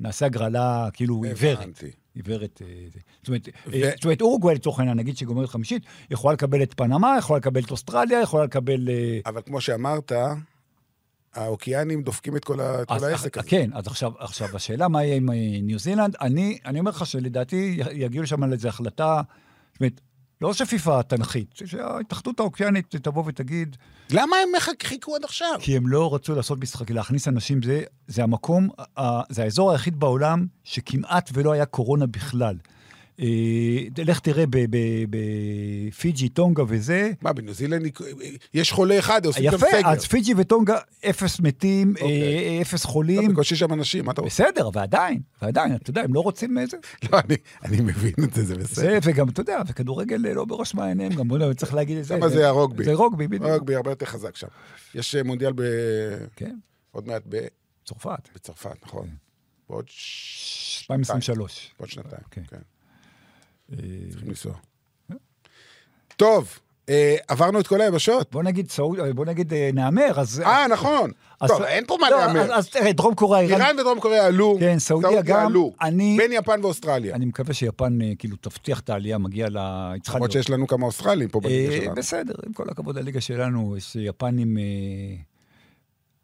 Speaker 5: נעשה הגרלה כאילו עיוורת.
Speaker 4: הבנתי.
Speaker 5: עיוורת. אה, זה. זאת אומרת, אה, זאת אומרת, אורוגוואי לצורך העניין, נגיד שגומרת חמישית, יכולה לקבל את פנמה, יכולה לקבל את אוסטרליה, יכולה לקבל... אה,
Speaker 4: אבל כמו שאמרת, האוקיאנים דופקים את כל ה- את כל
Speaker 5: אז-
Speaker 4: העסק
Speaker 5: אה,
Speaker 4: הזה.
Speaker 5: כן, אז עכשיו, עכשיו השאלה מה יהיה עם אה, ניו זילנד, אני, אני אומר לך שלדעתי י- יגיעו לשם על איזו החלטה, זאת אומרת, לא שפיפה תנכית, שההתאחדות האוקיינית תבוא ותגיד,
Speaker 4: למה הם מחכ- חיכו עד עכשיו?
Speaker 5: כן. כי הם לא רצו לעשות משחק, להכניס אנשים, זה, זה המקום, ה- זה האזור היחיד בעולם שכמעט ולא היה קורונה בכלל. אה, לך תראה ב- ב- בפיג'י, טונגה וזה.
Speaker 4: מה, בניו זילנד אה, יש חולה אחד, עושים גם
Speaker 5: יפה,
Speaker 4: סגר.
Speaker 5: אז פיג'י וטונגה, אפס מתים,
Speaker 4: אוקיי.
Speaker 5: אה, אפס
Speaker 4: טוב,
Speaker 5: חולים.
Speaker 4: בקושי שם אנשים, מה אתה רוצה?
Speaker 5: בסדר, ועדיין, ועדיין, אתה יודע, הם לא רוצים איזה...
Speaker 4: (laughs) לא, אני- אני מבין את זה, זה בסדר.
Speaker 5: זה, וגם, אתה יודע, וכדורגל אה, לא בראש מעייניהם, גם בוא נ- צריך להגיד את זה.
Speaker 4: שמה זה הרוגבי.
Speaker 5: זה רוגבי, בדיוק.
Speaker 4: רוגבי הרבה יותר חזק שם. יש אה, מונדיאל ב...
Speaker 5: כן,
Speaker 4: עוד מעט ב-
Speaker 5: צרפת. כן.
Speaker 4: בצרפת, נכון. בעוד ש- שנתיים.
Speaker 5: 2023.
Speaker 4: בעוד שנתיים,
Speaker 5: אוקיי.
Speaker 4: כן.
Speaker 5: אה,
Speaker 4: צריכים לנסוע. טוב, אה, עברנו את כל היבשות.
Speaker 5: בוא נגיד, סעוד- אה, בוא נגיד אה, נאמר, אז...
Speaker 4: אה, נכון.
Speaker 5: אז-
Speaker 4: טוב, אין פה מה
Speaker 5: לא,
Speaker 4: להמר.
Speaker 5: אז- אז תראה, דרום קוריאה, איראן...
Speaker 4: איראן ודרום קוריאה עלו,
Speaker 5: כן, סעודיה גם,
Speaker 4: עלו,
Speaker 5: אני-
Speaker 4: בין יפן ואוסטרליה.
Speaker 5: אני מקווה שיפן אה, כאילו תבטיח את העלייה, מגיע ל... היא צריכה
Speaker 4: למרות
Speaker 5: להיות-
Speaker 4: שיש לנו כמה אוסטרלים פה בליגה
Speaker 5: אה,
Speaker 4: שלנו.
Speaker 5: בסדר, עם כל הכבוד לליגה שלנו, יש יפנים... אה,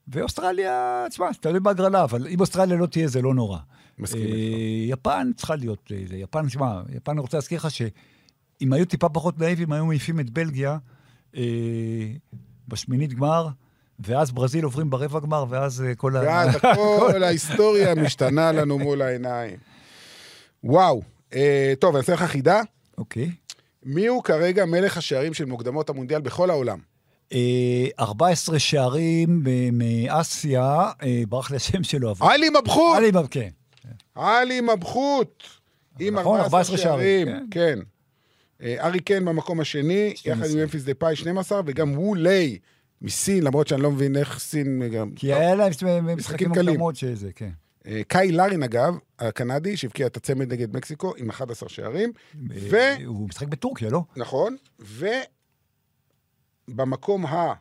Speaker 5: ואוסטרליה, תשמע, זה תלוי בהגרלה, אבל אם אוסטרליה לא תהיה, זה לא נורא.
Speaker 4: מסכים
Speaker 5: אה, יפן צריכה להיות... אה, זה. יפן, תשמע, יפן, אני רוצה להזכיר לך שאם היו טיפה פחות נאיבים, היו מעיפים את בלגיה אה, בשמינית גמר, ואז ברזיל עוברים ברבע גמר, ואז אה, כל ה... (laughs)
Speaker 4: ואז כל ההיסטוריה משתנה לנו מול העיניים. וואו. אה, טוב, אני אעשה לך חידה.
Speaker 5: אוקיי.
Speaker 4: מי הוא כרגע מלך השערים של מוקדמות המונדיאל בכל העולם?
Speaker 5: אה, 14 שערים אה, מאסיה, אה, ברח לי השם שלו, אבל...
Speaker 4: עלי מבחוט!
Speaker 5: עלי, כן.
Speaker 4: עלי מבחוט! עם
Speaker 5: נכון,
Speaker 4: 14 שערים,
Speaker 5: שערים,
Speaker 4: כן. אה, ארי קיין במקום השני, יחד עם ממפיס דה פאי 12, וגם וו ליי מסין, למרות שאני לא מבין איך סין גם...
Speaker 5: כי היה להם שני משחקים
Speaker 4: קלים.
Speaker 5: מוקדמות שזה, כן.
Speaker 4: אה, קאי לארין אגב, הקנדי, שהבקיע את הצמד נגד מקסיקו עם 11 שערים, ו...
Speaker 5: אה, הוא משחק בטורקיה, לא?
Speaker 4: נכון, ובמקום ה...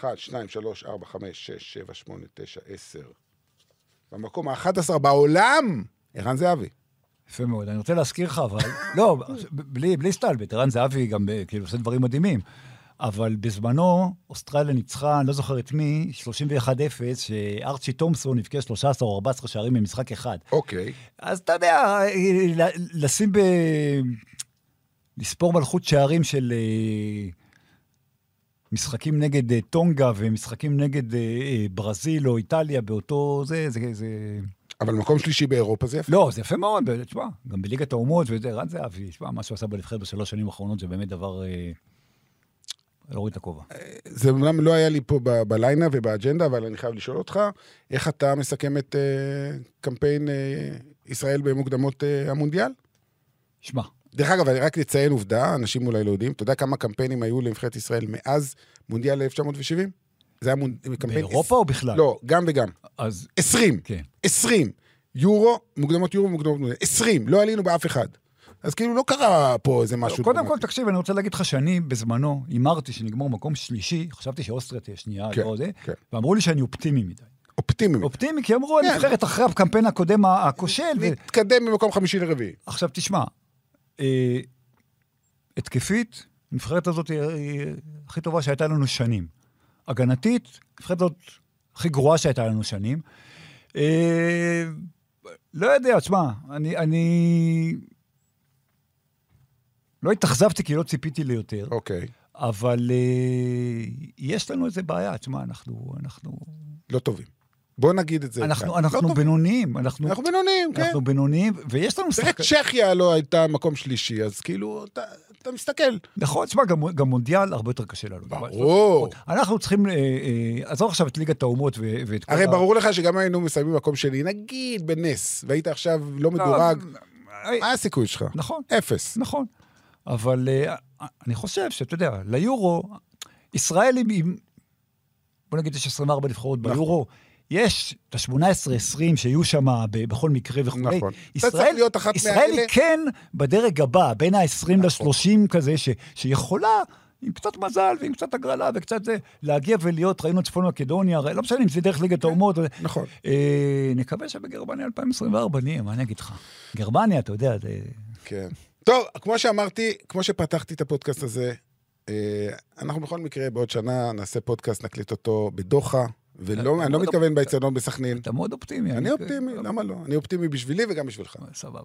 Speaker 4: 1, 2, 3, 4, 5, 6, 7, 8, 9, 10. במקום ה-11 בעולם, ערן זהבי.
Speaker 5: יפה מאוד. אני רוצה להזכיר לך, אבל... (laughs) לא, בלי, בלי סטלבט, ערן זהבי גם אה, כאילו עושה דברים מדהימים. אבל בזמנו, אוסטרליה ניצחה, אני לא זוכר את מי, 31-0, שארצ'י תומפסון הבקיע 13 או 14 שערים במשחק אחד.
Speaker 4: אוקיי.
Speaker 5: אז אתה יודע, אה, ל- לשים ב... לספור מלכות שערים של אה, משחקים נגד אה, טונגה ומשחקים נגד אה, אה, ברזיל או איטליה באותו זה, זה, זה...
Speaker 4: אבל מקום שלישי באירופה זה יפה.
Speaker 5: לא, זה יפה מאוד, ב- תשמע, גם בליגת האומות וזה, רן זהבי, תשמע, מה שהוא עשה בנבחרת בשלוש שנים האחרונות זה באמת דבר... אה, להוריד את הכובע.
Speaker 4: זה אומנם לא היה לי פה ב- בליינה ובאג'נדה, אבל אני חייב לשאול אותך, איך אתה מסכם את אה, קמפיין אה, ישראל במוקדמות אה, המונדיאל?
Speaker 5: שמע,
Speaker 4: דרך אגב, אני רק נציין עובדה, אנשים אולי לא יודעים, אתה יודע כמה קמפיינים היו לנבחרת ישראל מאז מונדיאל 1970? זה היה מונ... קמפיין...
Speaker 5: באירופה או בכלל?
Speaker 4: לא, גם וגם.
Speaker 5: אז
Speaker 4: 20.
Speaker 5: כן.
Speaker 4: 20. יורו, מוקדמות יורו, מוקדמות מונדיאל. 20. לא עלינו באף אחד. אז כאילו לא קרה פה איזה משהו.
Speaker 5: קודם כל,
Speaker 4: דרמטי.
Speaker 5: תקשיב, אני רוצה להגיד לך שאני בזמנו הימרתי שנגמור מקום שלישי, חשבתי שאוסטריה תהיה שנייה,
Speaker 4: כן,
Speaker 5: לא זה,
Speaker 4: כן.
Speaker 5: ואמרו לי שאני אופטימי מדי.
Speaker 4: אופטימי.
Speaker 5: אופטימי, כי אמרו,
Speaker 4: כן.
Speaker 5: הנבחרת אחרי הקמפיין הקודם ה- הכושל. ו-
Speaker 4: נתקדם ממקום חמישי לרביעי.
Speaker 5: עכשיו, תשמע, אה, התקפית, הנבחרת הזאת היא- היא הכי טובה שהייתה לנו שנים. הגנתית, הנבחרת הזאת הכי גרועה שהייתה לנו שנים. אה, לא יודע, תשמע, אני... אני... לא התאכזבתי כי לא ציפיתי ליותר.
Speaker 4: אוקיי.
Speaker 5: אבל אה, יש לנו איזה בעיה, תשמע, אנחנו, אנחנו,
Speaker 4: לא טובים. בוא נגיד את זה.
Speaker 5: אנחנו,
Speaker 4: כאן.
Speaker 5: אנחנו
Speaker 4: לא טוב.
Speaker 5: בינוניים, אנחנו,
Speaker 4: אנחנו בינוניים, כן.
Speaker 5: אנחנו בינוניים, ויש לנו
Speaker 4: תראה,
Speaker 5: שחק...
Speaker 4: צ'כיה לא הייתה מקום שלישי, אז כאילו, אתה, אתה מסתכל.
Speaker 5: נכון, תשמע, גם, גם מונדיאל הרבה יותר קשה לנו.
Speaker 4: ברור.
Speaker 5: אנחנו צריכים, אה, אה, עזוב עכשיו את ליגת האומות ו- ואת כל
Speaker 4: הרי ברור לך שגם היינו מסיימים מקום שני, נגיד בנס, והיית עכשיו לא
Speaker 5: לא,
Speaker 4: מדורג,
Speaker 5: אה,
Speaker 4: מה הסיכוי שלך?
Speaker 5: נכון,
Speaker 4: אפס.
Speaker 5: נכון. אבל אה, אני חושב שאתה יודע, ליורו, ישראל עם- עם, בוא נגיד יש 24 נבחרות
Speaker 4: נכון.
Speaker 5: ביורו, יש את ה-18-20 שיהיו שם ב- בכל מקרה וכולי.
Speaker 4: נכון. אתה צריך
Speaker 5: ישראל,
Speaker 4: להיות אחת נכון.
Speaker 5: ישראל
Speaker 4: מאלה.
Speaker 5: היא כן בדרג הבא, בין ה-20 ל-30 כזה, ש, שיכולה, עם קצת מזל ועם קצת הגרלה וקצת זה, להגיע ולהיות, ראינו את צפון מקדוניה, הרי לא משנה אם זה דרך ליגת האומות. אבל-
Speaker 4: נכון.
Speaker 5: אה, נקווה שבגרמניה 2024 נהיה, מה אני אגיד לך? גרמניה, אתה יודע, זה...
Speaker 4: כן. טוב, כמו שאמרתי, כמו שפתחתי את הפודקאסט הזה, אה, אנחנו בכל מקרה בעוד שנה נעשה פודקאסט, נקליט אותו בדוחה, ולא, אני לא מתכוון באצטדיון בסכנין.
Speaker 5: אתה מאוד אופטימי.
Speaker 4: אני אופטימי, למה לא? אני אופטימי בשבילי וגם בשבילך.
Speaker 5: סבבה.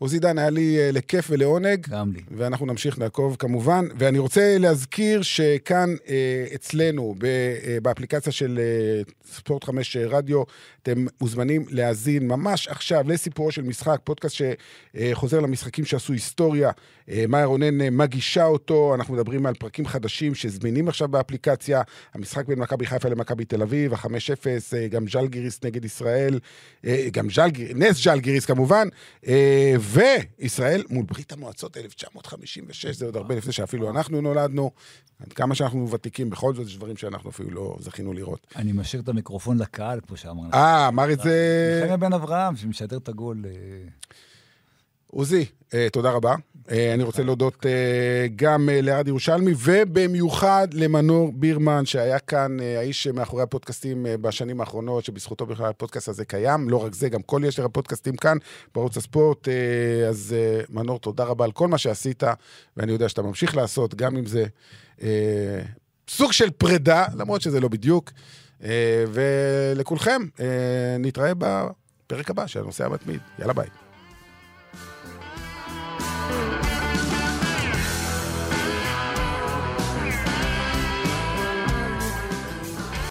Speaker 4: עוזי דן, היה לי אה, לכיף ולעונג.
Speaker 5: גם לי.
Speaker 4: ואנחנו נמשיך לעקוב כמובן. ואני רוצה להזכיר שכאן אה, אצלנו, ב, אה, באפליקציה של אה, ספורט 5 רדיו, אתם מוזמנים להאזין ממש עכשיו לסיפורו של משחק, פודקאסט שחוזר למשחקים שעשו היסטוריה. אה, מאיה רונן אה, מגישה אותו, אנחנו מדברים על פרקים חדשים שזמינים עכשיו באפליקציה. המשחק בין מכבי חיפה למכבי תל אביב, ה-5-0, אה, גם ז'לגיריס נגד ישראל, אה, גם ז'לגיר, נס ז'לגיריס כמובן, אה, וישראל מול ברית המועצות 1956, זה עוד הרבה לפני שאפילו אנחנו נולדנו. עד כמה שאנחנו ותיקים, בכל זאת יש דברים שאנחנו אפילו לא זכינו לראות.
Speaker 5: אני משאיר את המיקרופון לקהל, כמו שאמרנו.
Speaker 4: אה, אמר את זה...
Speaker 5: נחמיה בן אברהם, שמשדר את הגול. אה,
Speaker 4: עוזי, אה, תודה רבה. אה, אני רוצה להודות אה, גם אה, לארד ירושלמי, ובמיוחד למנור בירמן, שהיה כאן אה, האיש מאחורי הפודקאסטים אה, בשנים האחרונות, שבזכותו בכלל הפודקאסט הזה קיים. לא רק זה, גם כל יתר הפודקאסטים כאן בערוץ הספורט. אה, אז אה, מנור, תודה רבה על כל מה שעשית, ואני יודע שאתה ממשיך לעשות, גם אם זה אה, סוג של פרידה, למרות שזה לא בדיוק. אה, ולכולכם, אה, נתראה בפרק הבא של הנושא המתמיד. יאללה ביי.